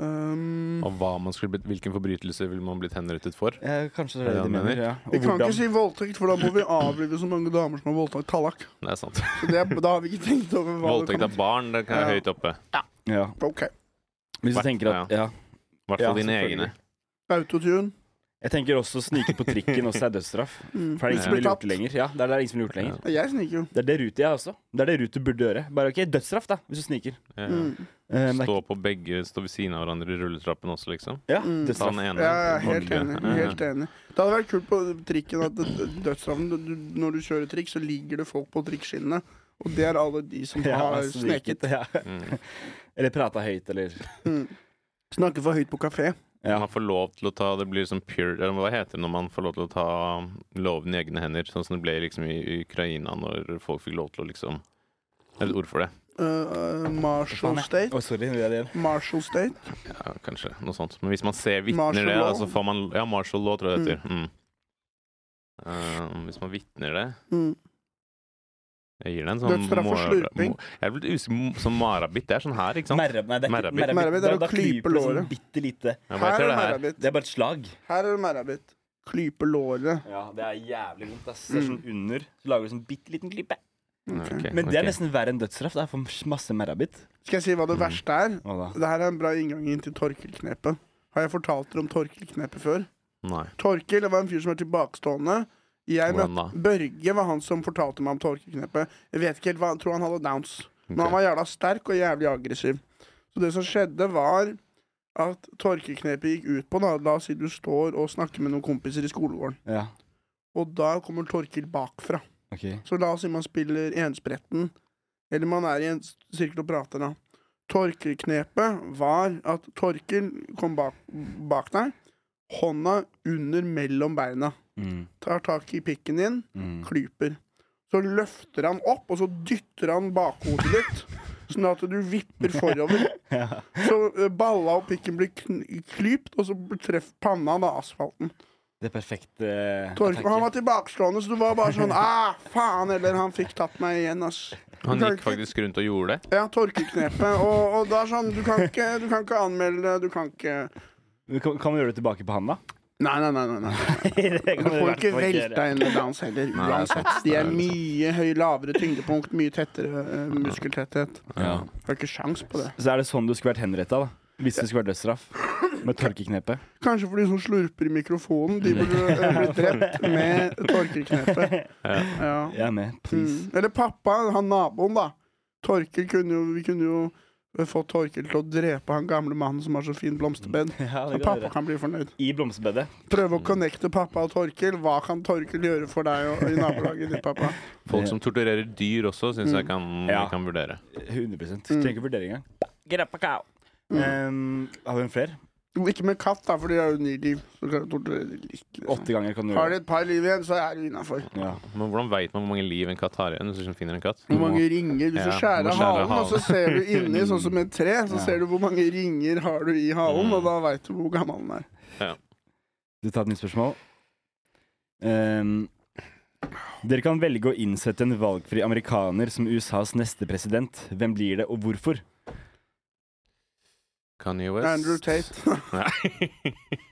C: Mm.
B: Um,
D: Og hva man skulle blitt, hvilken forbrytelse ville man blitt henrettet for?
C: Eh, kanskje det
D: Er
C: er det de
D: det han
C: mener. Ja.
B: vi
C: Og
B: kan
C: hvordan?
B: ikke si voldtekt, for da må vi avlive så mange damer som har voldtatt Tallak.
D: Det er sant.
B: Så det, da har vi ikke tenkt over hva det
D: Voldtekt av
B: kommer til.
D: barn, det er
B: Ja.
D: høyt oppe.
C: Ja.
B: Ok.
C: Hvis du tenker at Ja.
D: I hvert fall
C: Ja,
D: dine
C: selvfølgelig.
D: egne.
B: Autotune.
C: Jeg tenker også å snike på trikken også er dødsstraff.
B: Mm.
C: For det er ingen
D: Ja.
C: som ville gjort det lenger. Ja, det er det ingen som ville gjort det lenger.
B: Jeg sniker jo.
C: Det er det Ruter jeg også. Det er det Ruter burde gjøre. Bare OK, dødsstraff, da, hvis du sniker.
D: Ja.
B: Mm.
C: Eh, men det er
D: Stå på begge, stå ved siden av hverandre i rulletrappen også, liksom.
C: ikke- Ja,
B: Mm.
D: Ta den
C: dødsstraff.
D: ene.
B: Ja, ja, helt
D: Ordentlig.
B: enig.
D: Ja, ja.
B: helt enig. Det hadde vært kult på trikken at d- dødsstraffen du- du- Når du kjører trikk, så ligger det folk på trikkskinnene. Og det er alle de som har sneket.
C: Ja.
D: Mm.
C: Eller prata høyt, eller
B: Mm. Snakke for høyt på kafé.
C: Ja.
D: Man får lov til å ta Det blir sånn pure Eller hva heter det når man får lov til å ta loven i egne hender? Sånn som det ble liksom i i Ukraina, når folk fikk lov til å liksom Det er et ord for det.
B: Uh, uh, Marshall
C: Å,
B: State.
C: sorry. Det er det igjen.
B: Marshall State.
D: Ja, kanskje noe sånt. Men hvis man ser vitner
B: Martial
D: det,
B: law.
D: da, så får man Ja, martial law, tror jeg det heter. Mm. Eh, hvis man vitner det
B: Mm.
D: Jeg gir den en sånn
B: Dødsstraff for
D: mora-
B: slurping.
D: mo- Jeg er blitt usikker mo- Sånn marabitt, det er sånn her, ikke sant?
C: Merrab, nei, det er ikke
D: Merrabit.
C: merrabit.
B: Merrabit er
C: Da-
B: å
C: da
B: klype
C: klyper det sånn
B: låret.
C: bitte lite.
D: Ja, hva
B: Her
D: heter
B: er
D: det her?
C: Det
B: merrabit.
C: er bare et slag.
B: Her er merrabit. Klype låret.
C: Ja, det er jævlig vondt. ass. Det er sånn under, så lager du sånn bitte liten klype.
B: Ok.
D: Mm, Ok,
C: Men det er
D: ok.
C: nesten verre enn dødsstraff. Det er for masse merrabit.
B: Skal jeg si hva det
D: Mm.
B: verste er?
C: Hva da?
B: Dette er en bra inngang inn til Torkel-knepet. Har jeg fortalt dere om Torkel-knepet før?
D: Nei.
B: Torkel det var en fyr som var tilbakestående. Jeg
D: Hvordan
B: møtte Børge var han som fortalte meg om Torkel-knepet. Jeg vet ikke helt hva, jeg tror han hadde downs. Men han
D: Ok.
B: var jævla sterk og jævlig aggressiv. Så det som skjedde, var at torkeknepet gikk ut på da, La oss si du står og snakker med noen kompiser i skolegården.
C: Ja,
B: Og da kommer Torkel bakfra.
C: ok.
B: Så la oss si man spiller enspretten, eller man er i en s- sirkel og prater, da. Torkelknepet var at Torkel kom bak, bak deg, hånda under mellom beina,
C: Mm,
B: tar tak i pikken din,
C: mm.
B: klyper. Så løfter han opp, og så dytter han bakhodet ditt, sånn at du vipper forover.
C: Ja.
B: Så eh, balla og pikken blir kn klypt, og så treffer panna da asfalten.
C: Det perfekte eh,
B: Torkel, han
C: attacket.
B: var tilbakestående, så du var bare sånn ah, faen, eller han fikk tatt meg igjen, ass.
D: Han
B: Du kan
D: gikk
B: ikke-
D: faktisk rundt og gjorde det.
B: Ja, torkeknepet. Og, og det er sånn, du kan ikke, du kan ikke anmelde det, du kan ikke
C: Kan, kan vi gjøre det tilbake på han, da?
B: Nei, nei, nei. nei, nei.
C: det
B: Du får ikke velta inn med downs heller.
D: Nei, det er sant.
B: Uansett. De er
D: Det er
B: mye høy, lavere tyngdepunkt, mye tettere eh, muskeltetthet.
C: Ja.
B: Har ikke sjans på det.
C: Så er det sånn du skulle vært henretta, da? Hvis det skulle vært dødsstraff? Med tørkeknepet?
B: Kanskje for de som slurper i mikrofonen. De burde eh, blitt drept med torkeknepet. Ja.
C: Jeg er med, please.
B: Mm. Eller pappa, han naboen, da. Torkel kunne jo Vi kunne jo fått Torkel til å drepe han gamle mannen som har så fin
D: Mm.
B: blomsterbed.
C: Ja,
B: Så
C: det kan vi
B: pappa
C: gjøre.
B: kan bli fornøyd.
C: I blomsterbedet.
B: Prøve å connecte pappa og Torkel. Hva kan Torkel gjøre for deg og i nabolaget ditt, pappa?
D: Folk som torturerer dyr også, syns
B: Mm.
D: jeg kan,
C: Ja.
D: kan vurdere.
C: 100 Trenger ikke vurdering engang.
D: Mm.
C: Um, har vi en flere?
B: Jo, Eh, Ikke med katt, da, for de har jo ni liv. Så kan du torturere de litt. Liksom.
C: Åtte ganger kan du
B: Har de
C: gjøre det.
B: et par liv igjen, så er du innafor.
C: Ja.
D: Men hvordan veit man hvor mange liv en katt har igjen? Hvis du finner en katt?
B: Hvor mange ringer? Hvis
D: Ja,
B: du skjærer
D: må
B: av
D: skjære
B: halen, og så
D: halen.
B: ser du inni, sånn som et tre, så
C: Ja.
B: ser du hvor mange ringer har du i halen,
D: Mm.
B: og da veit du hvor gammel den er.
C: Du tar et nytt spørsmål. Ehm, dere kan velge å innsette en valgfri amerikaner som USAs neste president. Hvem blir det, og hvorfor?
D: Kanye West?
B: Andrew Tate.
D: Nei.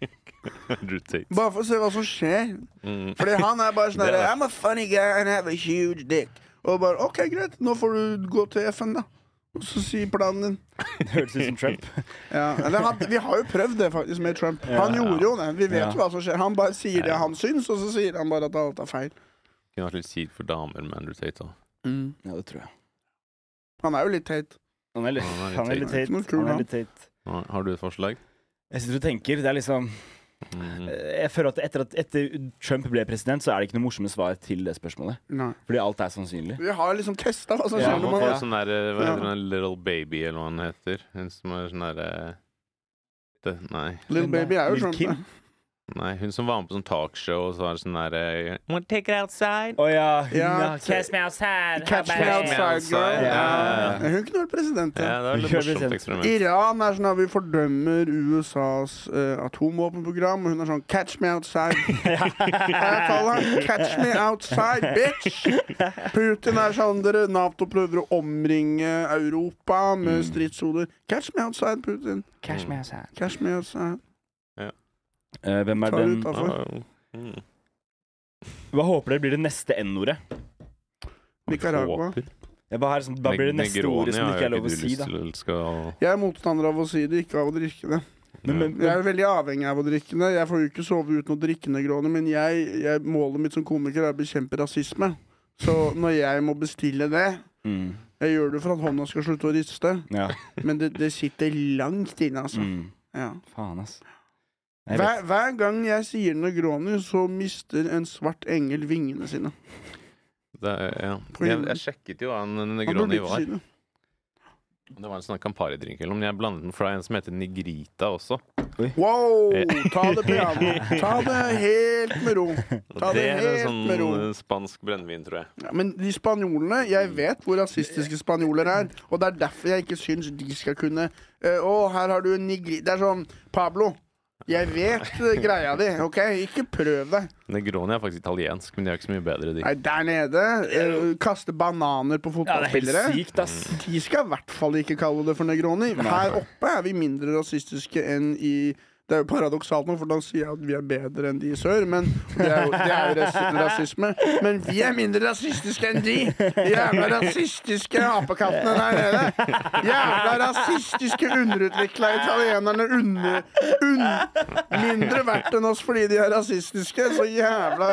D: Andrew Tate.
B: Bare for å se hva som skjer.
D: Mm.
B: Fordi han er bare sånn
D: Det er
B: der,
D: det.
B: I'm a funny guy and I have a huge dick. Og bare OK, greit, nå får du gå til FN, da. Og så si planen din.
C: Det høres ut som Trump.
B: Ja, eller han, Vi har jo prøvd det faktisk med Trump. Han
C: Ja.
B: gjorde jo det. Vi vet
C: Ja.
B: jo hva som skjer. Han bare sier det
D: Ja.
B: han syns, og så sier han bare at alt er feil.
D: Kunne vært litt kjipt for damer med Andrew Tate òg.
C: Ja, det tror jeg.
B: Han er jo litt teit.
C: Han er litt, han er litt teit.
B: Han er kul,
C: Han
B: han.
C: er litt teit.
D: Har du et forslag?
C: Jeg sitter og tenker. Det er liksom
D: Mm.
B: Eh,
C: Eh, Jeg føler at etter at etter Trump ble president, så er det ikke noe morsomme svar til det spørsmålet.
B: Nei.
C: Fordi alt er sannsynlig.
B: Vi har liksom testa hva som
C: Ja,
D: Ja,
B: skjer
D: man
B: når
D: får
B: man
D: sånn der, eh, hva heter
B: Ja.
D: den, Little Baby, eller hva den heter. Hun som er sånn derre det, Nei.
B: Little Baby er jo sånn, uh, Trump.
C: Lil' eh, Kim.
B: da.
D: nei. Hun som var med på sånn talkshow, og så var det sånn derre Wanna take it outside?
C: Å ja. Hun,
B: Ja.
C: ja. Catch me outside.
B: Catch me
D: Catch me
B: outside,
D: outside.
B: girl.
D: Ja,
C: ja,
B: Hun kunne vært president, ja.
D: Ja, det var et litt
C: Kjør det
D: morsomt
C: sent.
D: eksperiment.
B: Iran er sånn at vi fordømmer USAs eh, atomvåpenprogram, og hun er sånn 'catch me outside'. Jeg kaller han 'catch me outside, bitch'. Putin er sånn dere Nato prøver å omringe Europa med
C: Mm.
B: stridshoder. 'Catch me outside, Putin'.
C: Catch
D: Mm.
C: me outside.
B: Catch me outside.
C: Eh, hvem er
B: Ta det
C: den
B: utafor.
D: Ja, mm.
C: Hva håper dere blir det neste N-ordet?
B: Nicaragua.
D: Håper.
C: Jeg bare her, sånn, da blir det neste ordet som det ikke er lov å si, da.
B: Jeg er motstander av å si det, ikke av å drikke det.
C: Men, men,
B: Jeg er veldig avhengig av å drikke det. Jeg får jo ikke sove uten å drikke negråne, men jeg, jeg, målet mitt som komiker er å bekjempe rasisme. Så når jeg må bestille det
C: mm,
B: Jeg gjør det for at hånda skal slutte å riste,
C: ja.
B: men det, det sitter langt inne, altså.
C: Mm,
B: Ja.
C: faen, ass. Nei, Jeg vet.
B: Hver, hver gang jeg sier Negroni, så mister en svart engel vingene sine.
D: Det, er- ja.
B: På
D: jeg,
B: himmelen.
D: jeg sjekket jo hva en
B: Han burde
D: Negroni
B: ikke
D: var.
B: si det.
D: Det var en sånn Campari-drink eller noe, men jeg blandet den fra en som heter Negrita også.
B: Wow! Ta det piano. Ta det helt med ro.
D: Og
B: Ta det
D: det er en
B: helt
D: sånn
B: med ro.
D: eh, spansk brennevin, tror jeg.
B: Ja, men de spanjolene Jeg vet hvor rasistiske spanjoler er. Og det er derfor jeg ikke syns de skal kunne eh, Å, her har du en nigri... Det er sånn Pablo. Jeg vet eh, greia di, OK? Ikke prøv deg.
D: Negroni er faktisk italiensk, men de er ikke så mye bedre, de.
B: Nei, der nede eh, Kaste bananer på
C: Ja, det er helt
B: fotballspillere.
C: sykt, ass.
B: De skal i hvert fall ikke kalle det for negroni. Her oppe er vi mindre rasistiske enn i Det er jo paradoksalt nå, for da sier jeg at vi er bedre enn de i sør, men det er jo, det er jo ras rasisme. Men vi er mindre rasistiske enn de! Jævla rasistiske apekattene der nede! Jævla rasistiske underutvikla italienerne under, un, Mindre verdt enn oss fordi de er rasistiske. Så jævla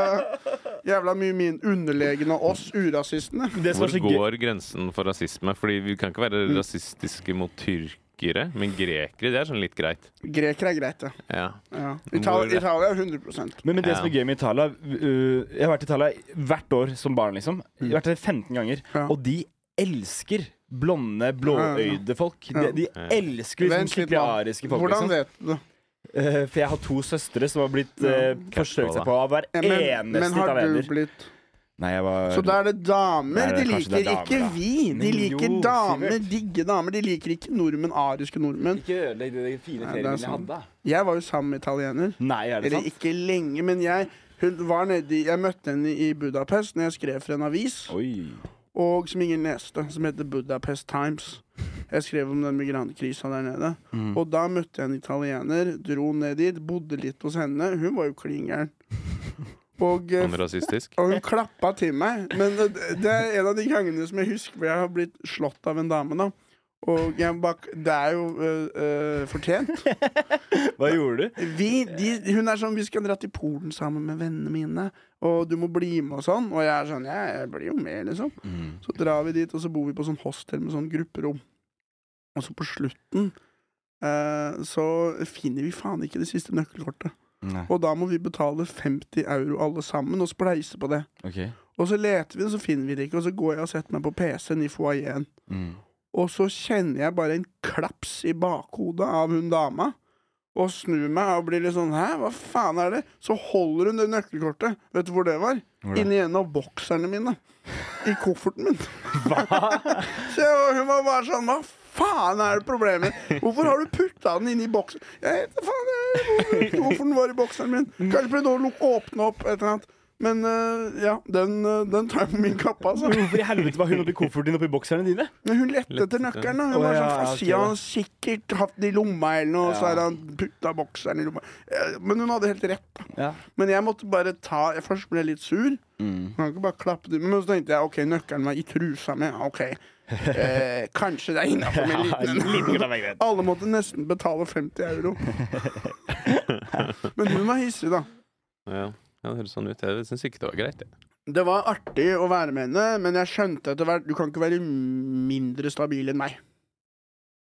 B: Jævla mye min underlegne oss urasistene.
C: Det som
D: Hvor
C: er så gøy
D: går grensen for rasisme? Fordi vi kan ikke være
B: Mm.
D: rasistiske mot tyrkere, men grekere, det er sånn litt greit.
B: Grekere er greit, det.
D: Ja.
B: Ja.
D: Hvor-
B: Italia, Italia er 100
C: Men, men det
D: Ja.
C: som er gøy med Italia øh, Jeg har vært i Italia hvert år som barn, liksom. Jeg har vært der 15 ganger.
B: Ja.
C: Og de elsker blonde, blåøyde folk. De, de
D: Ja.
C: elsker liksom
B: Vent litt nå.
C: kypriariske folk.
B: Hvordan
C: Liksom.
B: vet du det?
C: Eh, for jeg har to søstre som har blitt uh, forsøkt seg på av hver
B: Ja, Men,
C: eneste
B: men har du
C: italiener.
B: blitt
C: Nei, jeg var
B: Så da er det
C: Nei,
B: damer
C: det
B: de
C: er kanskje
B: liker,
C: det er damer,
B: ikke
C: da.
B: vi. De
C: Men
B: liker
C: jo,
B: damer,
C: Sivert.
B: digge damer. De liker ikke nordmenn, ariske nordmenn.
C: Ikke ødelegg de fine
B: Nei, det er feriene jeg sant.
C: hadde.
B: Jeg var jo sammen med italiener.
C: Nei, er det
B: Eller
C: sant?
B: ikke lenge, men jeg hun var nede, i- jeg møtte henne i Budapest når jeg skrev for en avis
C: Oi.
B: og som ingen leste, som heter Budapest Times. Jeg skrev om den migrantkrisa der nede. Og da møtte jeg en italiener, dro ned dit, bodde litt hos henne. Hun var jo klin gæren. Og eh,
D: Han er sånn rasistisk.
B: Og hun klappa til meg. Men det, det er en av de gangene som jeg husker hvor jeg har blitt slått av en dame. da og jeg bak, Det er jo øh, øh, fortjent.
C: Hva gjorde du?
B: Vi, de, hun er sånn 'Vi skal dra til Polen sammen med vennene mine', og 'du må bli med' og sånn. Og jeg er sånn ja, 'Jeg blir jo med', liksom. Så drar vi dit, og så bor vi på sånn hostel med sånn grupperom. Og så på slutten eh, så finner vi faen ikke det siste nøkkelkortet.
C: Mm, Nei.
B: Og da må vi betale 50 euro alle sammen, og spleise på det.
C: OK.
B: Og så leter vi det, så finner vi det ikke, og så går jeg og setter meg på PC-en i foajeen.
C: Mm.
B: Og så kjenner jeg bare en klaps i bakhodet av hun dama. Og snur meg og blir litt sånn 'hæ, hva faen er det?' Så holder hun det nøkkelkortet. Vet du hvor det var?
C: Hvor da?
B: Inni en av bokserne mine. I kofferten min. så jeg, var- hun var bare sånn 'hva faen er det problemet? Hvorfor har du putta den inni boksen?' Jeg vet da faen jeg, hvor- hvorfor den var i bokseren min. Kanskje prøvde å luk- åpne opp et eller annet. Men øh, ja, den, øh, den tar jeg på min kappe, altså.
C: Hvorfor i helvete var hun oppi kofferten din oppi bokserne dine?
B: Men hun lette etter nøkkelen. da. Hun
C: Å,
B: var sånn,
C: ja,
B: «Faen,
C: ok,
B: sier
C: da.»
B: han sikkert hatt den i lomma eller noe, og så har han putta bokseren i lomma. Eh, Men hun hadde helt rett. da.
C: Ja.
B: Men jeg måtte bare ta jeg Først ble jeg litt sur. Jeg Kan ikke bare klappe det. Men så tenkte jeg OK, nøkkelen var i trusa mi. OK. Eh, kanskje det er innafor med en liten en. Alle måtte nesten betale 50 euro. Men hun var hissig, da.
D: Ja. ja, det høres sånn ut. Jeg syns ikke det var greit. jeg.
B: Det var artig å være med henne, men jeg skjønte etter hvert Du kan ikke være mindre stabil enn meg.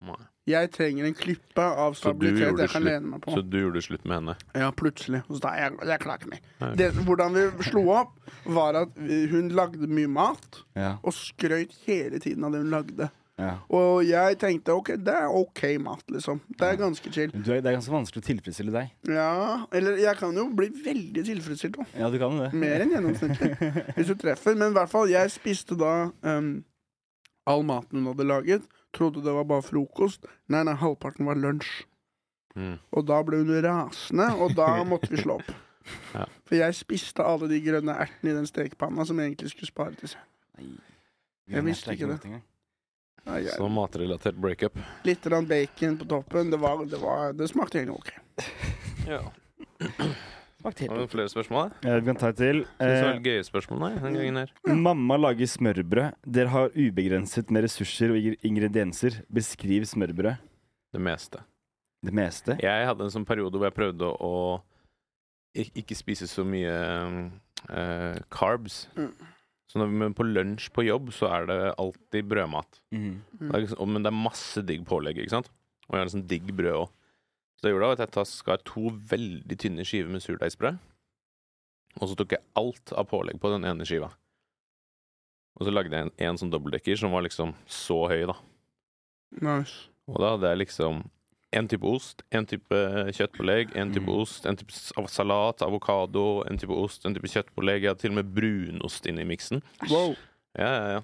D: Nei.
B: Jeg trenger en klippe av
D: Så du
B: stabilitet
D: gjorde
B: jeg kan
D: slutt-
B: lene meg på.
D: Så du gjorde slutt med henne.
B: Ja, plutselig. Og så da, jeg, jeg klarer ikke mer.
D: Nei.
B: Det, hvordan vi slo opp, var at vi- hun lagde mye mat,
C: Ja.
B: og skrøt hele tiden av det hun lagde.
C: ja.
B: Og jeg tenkte ok, det er ok mat, liksom. Det er ganske chill.
C: Du er, det er ganske vanskelig å tilfredsstille deg.
B: Ja, eller jeg kan jo bli veldig tilfredsstilt òg.
C: Ja, du kan jo det.
B: Mer enn gjennomsnittlig. Hvis du treffer. Men i hvert fall, jeg spiste da em, all maten hun hadde laget. Trodde det var bare frokost. Nei, nei, halvparten var lunsj.
D: Mm.
B: Og da ble hun rasende, og da måtte vi slå opp.
D: Ja.
B: For jeg spiste alle de grønne ertene i den stekepanna som jeg egentlig skulle spare til seg. Jeg visste ikke det. Ai, ai.
D: Så matrelatert breakup.
B: Litt grann bacon på toppen. Det, var, det, var, det smakte egentlig ok.
D: Ja. Har du flere spørsmål?
C: Eh, Vi kan ta et til.
D: Det
C: Eh,
D: var gøye spørsmål nei, den gangen her.
C: Mamma lager smørbrød. Dere har ubegrenset med ressurser og ingre- ingredienser. Beskriv smørbrød.
D: Det meste.
C: Det meste.
D: Jeg hadde en sånn periode hvor jeg prøvde å ik- ikke spise så mye eh, carbs.
B: Mm.
D: Så når, men på lunsj på jobb så er det alltid brødmat.
C: Mhm.
B: Mm.
D: Det er, ikke så- men det er masse digg pålegg, ikke sant? Og jeg har liksom digg brød òg. Så det jeg gjorde da, var at jeg tas- skar to veldig tynne skiver med surdeigsbrød. Og så tok jeg alt av pålegg på den ene skiva. Og så lagde jeg en, en sånn dobbeltdekker som var liksom så høy, da.
B: Nice.
D: Og da hadde jeg liksom en type ost, en type eh, kjøttpålegg, en type
C: Mm.
D: ost, en type s- av- salat, avokado, en type ost, en type kjøttpålegg. Jeg hadde til og med brunost inni miksen.
B: Wow.
D: Ja, ja, ja.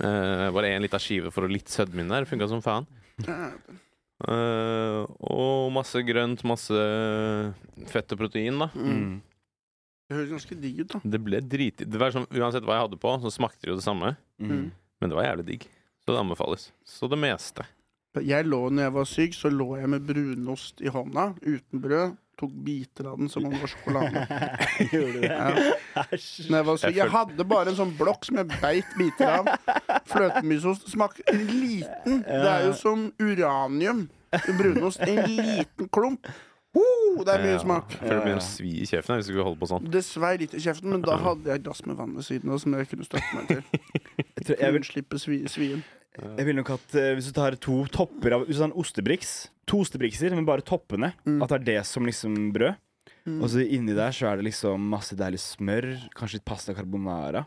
D: Eh, bare en lita skive for å litt sødme inn der. Funka som faen.
B: Dæven.
D: Eh, og masse grønt, masse eh, fett og protein, da.
B: Mm.
C: Mm.
B: Det høres ganske digg ut, da.
D: Det ble dritdigg. Det var sånn, uansett hva jeg hadde på, så smakte det jo det samme.
C: Mm.
D: Men det var jævlig digg. Så det anbefales. Så det meste.
B: Jeg lå, når jeg var syk, så lå jeg med brunost i hånda, uten brød. Tok biter av den som om det var sjokolade.
C: Gjorde du det?
B: Ja.
C: Æsj.
B: Når jeg, var syk.
D: Jeg
B: jeg hadde bare en sånn blokk som jeg beit biter av. Fløtemysost smak en liten. Det er jo som uranium. Brunost. En liten klump. Oh, det er mye
D: Ja.
B: smak.
D: Jeg Eh, Føler det begynner å svi i kjeften her hvis vi skulle holde på sånn.
B: Dessverre litt i kjeften, men da hadde jeg et glass med vann ved siden av som jeg kunne støtte meg til.
C: Jeg, tror, jeg,
B: Jeg
C: vil,
B: vil slippe svi, svien.
C: jeg ville nok hatt eh, Hvis du tar to topper av Hvis du tar en ostebriks To ostebrikser, men bare toppene.
B: Mm.
C: At det er det som liksom brød.
B: Mm.
C: Og så inni der så er det liksom masse deilig smør. Kanskje litt pasta carbonara.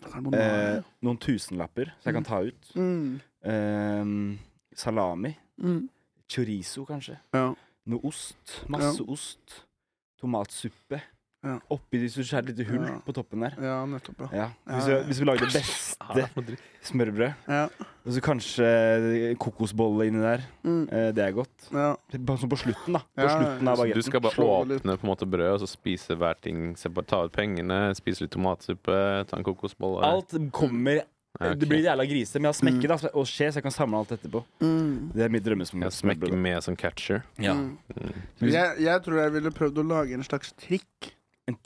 C: Eh,
B: Karbonade.
C: noen tusenlapper så jeg kan ta ut.
B: Mm.
C: Eh, salami.
B: Mm.
C: Chorizo, kanskje.
B: Ja.
C: Noe ost. Masse ost. Tomatsuppe.
B: Ja.
C: Oppi hvis du skjærer et lite hull
B: Ja.
C: på toppen der.
B: ja, nettopp, ja.
C: Ja. Hvis, vi, hvis vi lager det beste smørbrødet,
B: ja.
C: og så kanskje kokosbolle inni der.
B: Mm.
C: Eh, Det er godt.
B: ja.
C: Bare sånn på slutten, da. På
B: Ja, ja.
C: slutten av
D: Så du
C: bagetten.
D: skal bare
B: Slå det litt.
D: åpne på en måte brød, og så spise hver ting. se på- Ta ut pengene, spise litt tomatsuppe, ta en kokosbolle.
C: Alt kommer
D: Ja, ok.
C: Det blir jævla grise, men jeg har smekke da, og skje, så jeg kan samle alt etterpå.
B: Mm.
C: Det er mitt drømmesmørbrød.
D: Jeg smekker med som catcher.
C: Ja.
B: Mm.
D: Mm.
B: Jeg, jeg tror jeg ville prøvd å lage en slags trikk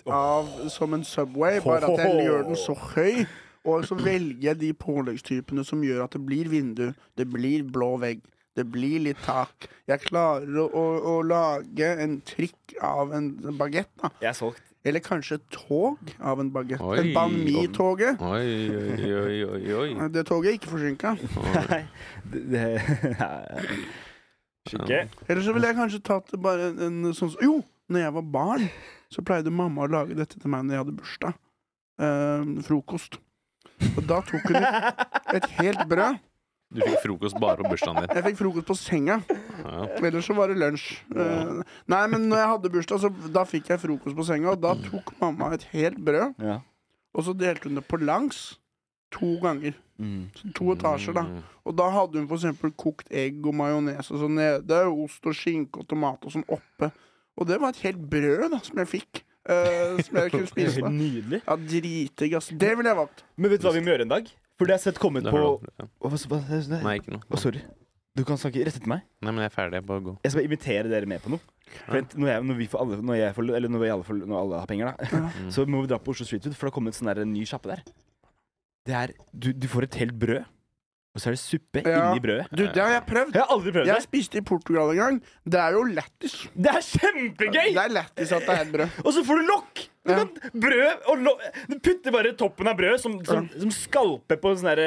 B: av, som en Subway, bare at jeg gjør den så høy. Og så velger jeg de påleggstypene som gjør at det blir vindu, det blir blå vegg, det blir litt tak. Jeg klarer å, å, å lage en trikk av en bagett, da.
C: Jeg er solgt.
B: Eller kanskje et tog av en bagett.
D: Oi,
B: En Banmi-toget.
D: Oi, oi, oi, oi, oi.
B: Det toget er ikke forsinka.
C: Nei. Det, det, Skikke.
B: Eller så ville jeg kanskje tatt bare en, en sånn som- Jo, når jeg var barn, så pleide mamma å lage dette til meg når jeg hadde bursdag. Eh, frokost. Og da tok hun et, et helt brød.
D: Du fikk frokost bare på bursdagen din.
B: Jeg fikk frokost på senga.
D: Ja.
B: Ellers så var det lunsj. Eh, nei, men når jeg hadde bursdag, så da fikk jeg frokost på senga, og da tok mamma et helt brød,
C: Ja.
B: og så delte hun det på langs. To ganger.
C: Mm.
B: Så to etasjer, da.
D: Mm.
B: Og da hadde hun for eksempel kokt egg og majones og så nede, ost og skinke og tomat og sånn oppe. Og det var et helt brød da, som jeg fikk. eh, som jeg kunne
C: Det er
B: spise. da.
C: helt nydelig.
B: Ja, Dritdigg, ass. Det ville jeg valgt.
C: Men vet du hva vi må gjøre en dag? For det har jeg sett kommet
D: Det
C: på
D: har du. Ja.
C: Å, hva- hva- hva-
D: Nei, ikke noe.
C: Å, sorry. Du kan snakke rett etter meg.
D: Nei, men jeg er ferdig. Bare gå.
C: Jeg skal bare invitere dere med på noe. For at når, jeg, når vi får alle, når jeg får, eller når, vi alle får, når alle har penger, da,
D: Mm.
C: så må vi dra på Oslo Street Food, for det har kommet sånn der en ny sjappe der. Det er du, du får et helt brød, og så er det suppe
B: Ja.
C: inni brødet.
D: Eh.
B: Du, det har jeg prøvd.
C: Jeg har aldri prøvd det.
B: Jeg spiste i Portugal en gang. Det er jo lættis.
C: Det er kjempegøy!
B: Det er lættis at det er et brød.
C: Og så får du lokk! Du
B: Ja.
C: kan brød og lokk Du putter bare toppen av brødet, som, som, som skalpe på en sånn derre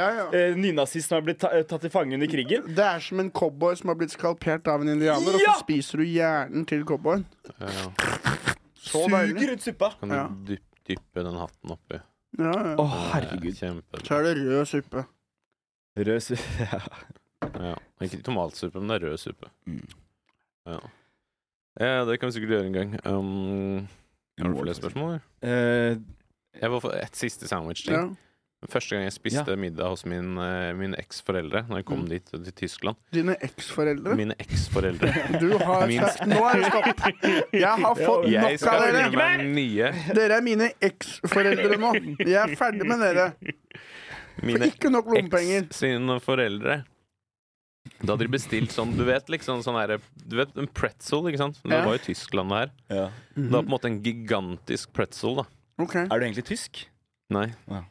B: Ja, ja.
C: eh, nynazist som har blitt ta, eh, tatt til fange under krigen.
B: Det er som en cowboy som har blitt skalpert av en indianer, og så
C: Ja!
B: spiser du hjernen til cowboyen.
D: Ja, ja.
B: Så deilig.
C: Suger ut suppa.
D: Kan du
B: Ja.
D: dyp- dyppe den hatten oppi?
B: Ja,
C: Å,
B: ja.
C: herregud.
D: Ja, Kjempe.
B: Så er det rød suppe.
C: Rød su- ja.
D: Ja. Ikke tomatsuppe, men det er rød suppe.
C: Mm.
D: Ja. ja, det kan vi sikkert gjøre en gang. Um, har du flere spørsmål? eller?
C: Eh,
D: Jeg var for et siste sandwich til.
B: Ja.
D: Første gang jeg spiste middag hos min, eh, mine eksforeldre Når jeg kom
B: Mm.
D: dit til Tyskland.
B: Dine eksforeldre.
D: Mine eksforeldre.
B: Du har
D: Min-
B: sagt Nå er det stopp. Jeg har fått
D: Jeg
B: nok av
D: skal
B: dere.
D: finne meg nye.
B: Dere er mine eksforeldre nå. Jeg er ferdig med dere. For
D: Mine
B: ikke nok lommepenger.
D: eks sine foreldre Da hadde de bestilt sånn, du vet, liksom, sånn her, du vet, en pretzel, ikke sant? Det
B: Ja.
D: var i Tyskland det her.
C: Ja.
D: Det var på en måte en gigantisk pretzel, da.
B: Ok.
C: Er du egentlig tysk?
D: Nei.
C: Ja.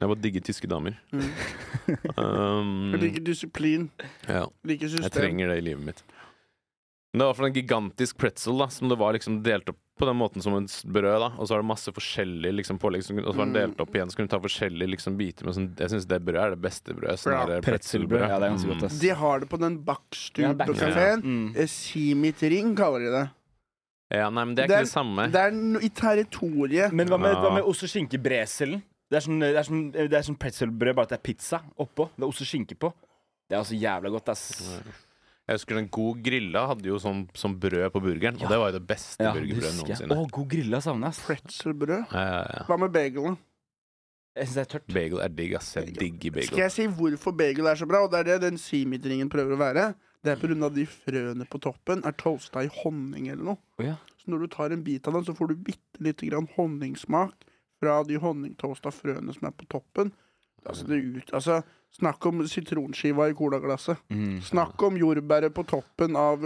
D: Jeg bare digger tyske damer.
B: Mm.
D: Um,
B: Jeg liker disiplin.
D: ja,
B: Liker
D: jeg
B: system.
D: trenger det i livet mitt. Men det var i hvert fall en gigantisk pretzel, da, som det var liksom delt opp på den måten som en s- brød, da. Og så var det masse forskjellige liksom, pålegg, som- og så var den
B: Mm.
D: delt opp igjen, så kunne du ta forskjellige liksom, biter med sånn Jeg syns det brødet er det beste brødet. Sånn
B: Ja,
D: der
C: Pretzelbrød. Ja, det er ganske
D: Mm.
C: godt, ass.
B: De har det på den
C: Ja,
B: Backstube-kafeen.
C: Mm.
B: Simitring kaller de det.
D: Ja, nei, men det er
B: Det
D: ikke
B: er-
D: det samme.
B: Det er no i territoriet.
C: Men hva med,
D: Ja.
C: hva med ost og skinke breselen? Det er sånn, det er sånn, det er sånn pretzelbrød, bare at det er pizza oppå. Det er ost og skinke på. Det er altså jævla godt, ass.
D: Jeg husker den God Grilla hadde jo sånn, sånn brød på burgeren, og det var jo det beste
C: Ja,
D: burgerbrødet
C: husker jeg.
D: noensinne.
C: Å, god grilla savner jeg, ass.
B: Pretzelbrød.
D: Ja, ja, ja.
B: Hva med bagelen?
C: Jeg syns det er tørt.
D: Bagel er digg, ass. Jeg
B: Bagel.
D: digger
B: Skal
D: bagel.
B: jeg si hvorfor bagel er så bra? Og det er det den simitringen prøver å være. Det er pga. de frøene på toppen er toasta i honning eller noe.
C: Å ja.
B: Så når du tar en bit av den, så får du bitte lite grann honningsmak fra de honningtoasta frøene som er på toppen. Altså, det er ut, altså, snakk om sitronskiva i colaglasset.
C: Mm.
B: Snakk om jordbæret på toppen av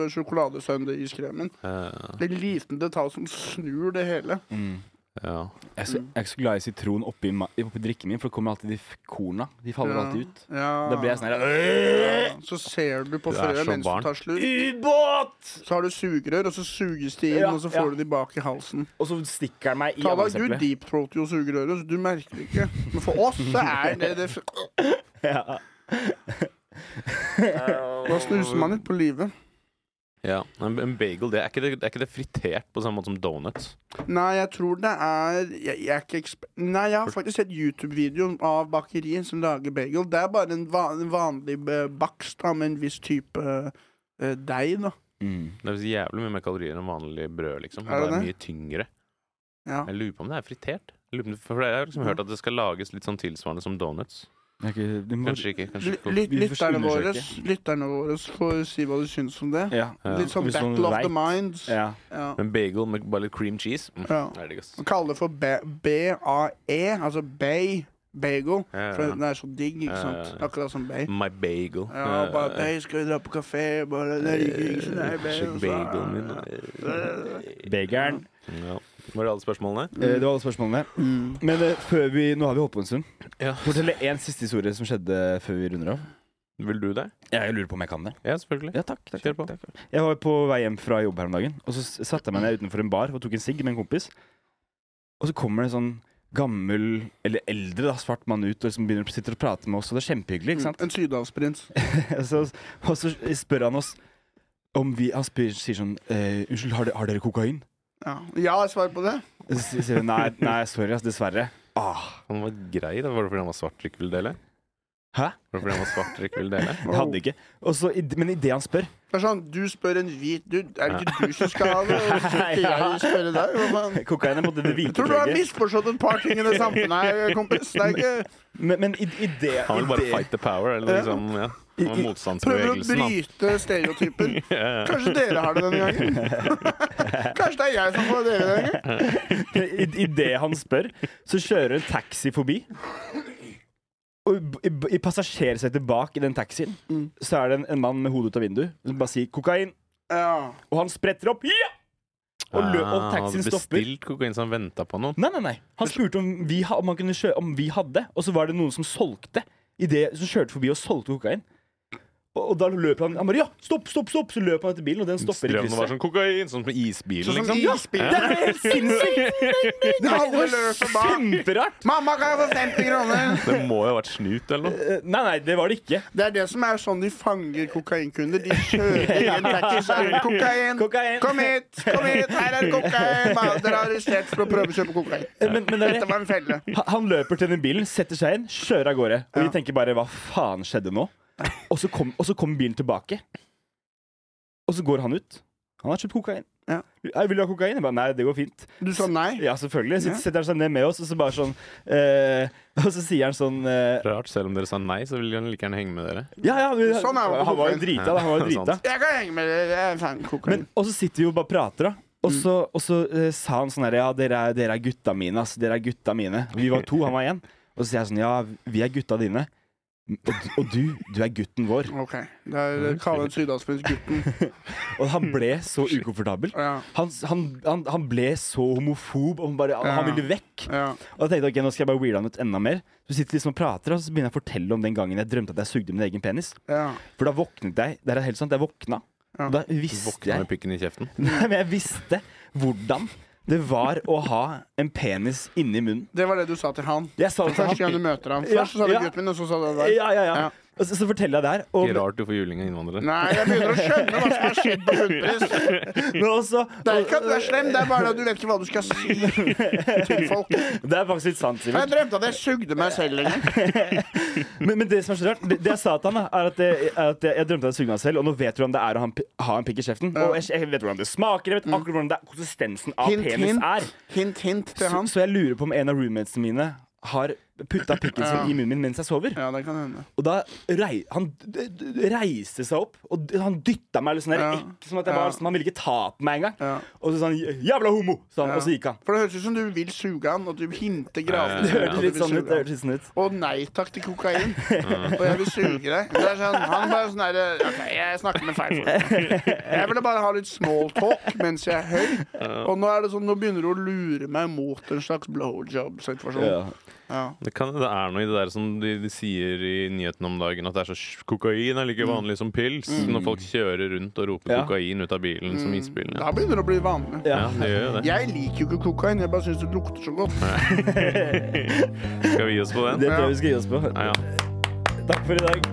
B: sjokoladesundayiskremen.
D: Ja,
B: Det er en liten detalj som snur det hele.
C: Mm.
D: ja.
C: Jeg, er så, jeg er ikke så glad i sitron oppi, ma- oppi drikken min, for det kommer alltid de f- korna. De faller
B: Ja.
C: alltid ut.
B: Ja.
C: Da blir jeg sånn her øh,
B: Så ser du på
D: Du er
B: frøet
D: så
B: mens
D: barn.
B: du tar slurk.
C: Ubåt!
B: Så har du sugerør, og så suges de inn,
C: Ja,
B: og så får
C: ja.
B: du de bak i halsen.
C: Og så stikker den meg i
B: Ta deg, du
C: annonseplet.
B: deep throat jo sugerøret, så du merker det ikke. Men for oss så er det det f-
C: Ja.
B: Da snuser man litt på livet.
D: Ja, men en bagel, det er, ikke det, det er ikke det fritert på samme måte som donuts?
B: Nei, jeg tror det er Jeg, jeg er ikke eksper... Nei, jeg har faktisk sett YouTube-videoen av bakeriet som lager bagel. Det er bare en, va en vanlig eh, bakst da, med en viss type eh, deig, da.
C: Mm.
D: Det er visst jævlig mye mer kalorier enn vanlig brød, liksom.
B: Er det
D: Og det er
B: det?
D: mye tyngre.
B: Ja.
D: Jeg lurer på om det er fritert? Jeg lurer på om det- For jeg har liksom hørt at det skal lages litt sånn tilsvarende som donuts.
C: Det er ikke- du må-
D: Kanskje ikke. kanskje
B: Lyt-
D: ikke.
B: lyt-
C: Vi får
B: Lytterne våre,
C: undersøke.
B: lytterne våre får si hva de syns om det.
C: Ja.
D: Ja.
B: Litt sånn
C: Hvis noen
B: battle of the
C: vet.
B: minds.
C: ja.
B: Ja.
D: En bagel med bare litt cream cheese. Mm.
B: Ja.
D: Det er digg, ass.
B: Man kaller det for ba- B-A-E, altså bay, bagel.
D: Ja, ja,
B: For
D: ja.
B: den er så digg, ikke
D: Ja, ja,
B: sant?
D: ja.
B: Akkurat som bay.
D: My bagel.
B: Ja,
D: Eh,
B: bare bay, skal vi dra på kafé? Bare, det er ikke ikke sånn, nei,
D: eh,
B: bay.
D: Sjekk
B: og så- Mm.
D: bagelen min. eh,
C: Begeren.
D: Ja. Var det alle spørsmålene?
C: Eh, Det var alle spørsmålene.
B: Mm.
C: Men eh, før vi, nå har vi holdt på en stund.
D: Ja.
C: Fortell én siste historie som skjedde før vi runder av.
D: Vil du det?
C: Jeg lurer på om jeg kan det.
D: Ja, selvfølgelig.
C: Ja, takk, takk,
D: Kjør på.
C: takk, takk. Jeg var på vei hjem fra jobb her om dagen, og så s- satte jeg meg ned utenfor en bar og tok en sigg med en kompis. Og så kommer det en sånn gammel, eller eldre, da, svart mann ut og liksom begynner å sitte og prate med oss, og det er kjempehyggelig, ikke sant?
B: En sydhavsprins.
C: Og så, og så spør han oss om vi Han spør, sier sånn eh, Unnskyld, har, de, har dere kokain?
B: Ja, ja jeg svarer på det.
C: Og så sier vi nei, nei, sorry, ass, dessverre. Ah,
D: Han var grei, da. Var det fordi han var svart dere ikke ville dele?
C: Hæ?
D: Var det fordi han var svart dere ikke ville dele?
C: jeg hadde ikke. Og så, i- men idet han spør
B: Det er sånn, du spør en hvit dude, er det ikke du som skal ha det? Og så skal jeg spørre deg, hva faen?
C: Kokain er på en måte det
B: Jeg
C: hvite
B: tror du har
C: flagget.
B: misforstått et par ting i det samfunnet her, kompis. Det er ikke...
C: Men, men i, i det,
D: Han vil
C: i
D: bare
C: det-
D: fight the power, eller noe liksom, ja. Han var
B: Prøver å
D: motstandsbevegelsen. han.
B: bryte stereotyper.
D: Ja, ja.
B: Kanskje dere har det denne gangen? Kanskje det er jeg som får dere denne gangen?
C: I, i det han spør, så kjører en taxi forbi. Og i, i, i passasjersetet bak i den taxien
B: Mm.
C: så er det en, en mann med hodet ut av vinduet som bare sier 'kokain',
B: Ja.
C: og han spretter opp. Ja! Og, lø og
D: Ah,
C: taxien
D: Han hadde
C: stopper.
D: bestilt kokain, så han venta på noen.
C: Nei, nei, nei. Han spurte om vi, ha- om, han kunne kjø om vi hadde, og så var det noen som solgte. I det, som kjørte forbi og solgte kokain. Og, og da løp han Han bare 'ja, stopp, stopp', stopp! Så løp han etter bilen, og den stopper i
D: Strømmen var
C: krysset.
D: sånn kokain, sånn som isbilen,
B: Sånn som
D: liksom.
B: isbil.
C: Det er helt sinnssykt!
B: Alle løper bak.
C: Kjemperart!
B: Mamma, kan jeg få 50 kroner?
D: Det må jo ha vært snut eller noe.
C: Eh, Nei, nei, det var det ikke.
B: Det er det som er sånn de fanger kokainkunder. De kjører inn taxi, så er det kokain.
C: Kokain.
B: Kom hit, kom hit, her er det kokain. Bare, Dere er arrestert for å prøve å kjøpe kokain.
C: Eh, Men, men det er
B: Dette var en felle.
C: Ha- Han løper til den bilen, setter seg inn, kjører av gårde.
B: Ja.
C: Og vi tenker bare 'hva faen skjedde nå?' Og så kom- og så kommer bilen tilbake. Og så går han ut. Han har kjøpt kokain.
B: Ja.
C: Nei, 'Vil du ha kokain?' Jeg bare 'nei, det går fint'.
B: Du sa nei?
C: Ja, selvfølgelig. Så
B: Ja.
C: setter han seg ned med oss, og så bare sånn eh, Og så sier han sånn eh,
D: Rart, selv om dere sa nei, så ville han like gjerne henge med dere.
C: Ja, ja, vi,
B: Sånn er det på
C: han var jo
B: kokain.
C: drita, da. Han var jo
D: Ja,
C: drita.
D: sant.
B: Jeg kan henge med dere. Jeg er fan av kokain.
C: Men, og så sitter vi jo og bare prater, da. Og
B: Mm.
C: så, og så eh, sa han sånn her Ja, dere er, altså, dere er gutta mine, ass. Dere er gutta mine. Vi var to, han var én. Og så sier jeg sånn Ja, vi er gutta dine. Og, du- og du, du er gutten vår.
B: Ok. Det er Kall den sydafrikanske gutten.
C: Og han ble så ukomfortabel.
B: Ja.
C: Han, han, han, han ble så homofob, og han, bare,
B: Ja.
C: han ville vekk.
B: ja.
C: Og jeg tenkte, ok, nå skal jeg bare weirde han ut enda mer. Så sitter vi liksom og prater, og så begynner jeg å fortelle om den gangen jeg drømte at jeg sugde min egen penis.
B: ja.
C: For da våknet jeg. Det er helt sant, jeg våkna.
B: Ja.
C: Og Da visste
D: Våkna
C: jeg
D: med pikken i kjeften.
C: Nei, men jeg visste hvordan det var å ha en penis inni munnen.
B: Det var det du sa til han.
C: Jeg sa det til
B: Første gang du
C: han.
B: møter ham.
C: Ja,
B: Først så sa du
C: ja.
B: gutten min, og så sa du det der.
C: Ja, ja, ja.
B: Ja.
C: Og så, så forteller jeg det her.
D: Ikke
C: Og,
D: rart du får juling av innvandrere.
B: Nei, jeg begynner å skjønne hva som har skjedd på Hundpris.
C: men også,
B: Det er ikke at du er slem, det er bare at du vet ikke hva du skal si til folk.
C: det er faktisk litt sant, Sivert.
B: Jeg drømte at jeg sugde meg selv en gang.
C: Men, men det som er så rart, det, det jeg sa til han, da, er at, det, er at jeg, jeg drømte at jeg sugde meg selv, og nå vet du hvordan det er å ha en, pi- ha en pikk i kjeften. Og jeg, jeg vet hvordan det smaker, jeg vet akkurat hvordan det er, konsistensen av
B: Hint,
C: penis
B: hint.
C: er.
B: Hint, hint til
C: Så,
B: han.
C: så jeg lurer på om en av roommatesene mine har putta pikken sin
B: Ja.
C: i munnen min mens jeg sover.
B: Ja, det kan hende.
C: Og da rei, han d- d- reiste seg opp, og d- han dytta meg litt sånn der,
B: Ja.
C: ekk, som at jeg var,
B: Ja.
C: sånn, han ville ikke ta på meg engang.
B: Ja.
C: Og så sa han 'jævla homo', sa han,
B: Ja.
C: og så gikk han.
B: For det høres ut som du vil suge han, og du hinter
D: Ja,
B: graven.
D: ja,
C: Det
D: ja.
C: hørtes litt sånn ut. det hørtes litt sånn ut
B: Og nei takk til kokain. Og jeg vil suge deg. Det er sånn, han bare sånn der, Ok, jeg snakker med feil folk. Jeg ville bare ha litt small talk mens jeg er høy. Og nå er det sånn, nå begynner du å lure meg mot en slags blowjob-situasjon.
C: Ja.
B: Ja.
D: Det, kan, det er noe i det der som de, de sier i nyhetene om dagen, at det er så sj- kokain er like vanlig som pils. Når folk kjører rundt og roper
C: Mm. Ja. Mm.
D: kokain ut av bilen som isbilen. Ja.
B: Da begynner det å bli vanlig.
C: Ja.
D: Ja, det gjør jo det.
B: Jeg liker jo ikke kokain, jeg bare syns det lukter så godt.
D: Skal vi gi oss på den?
C: Det tror jeg vi skal gi oss på.
D: Ja, ja.
C: Takk for i dag.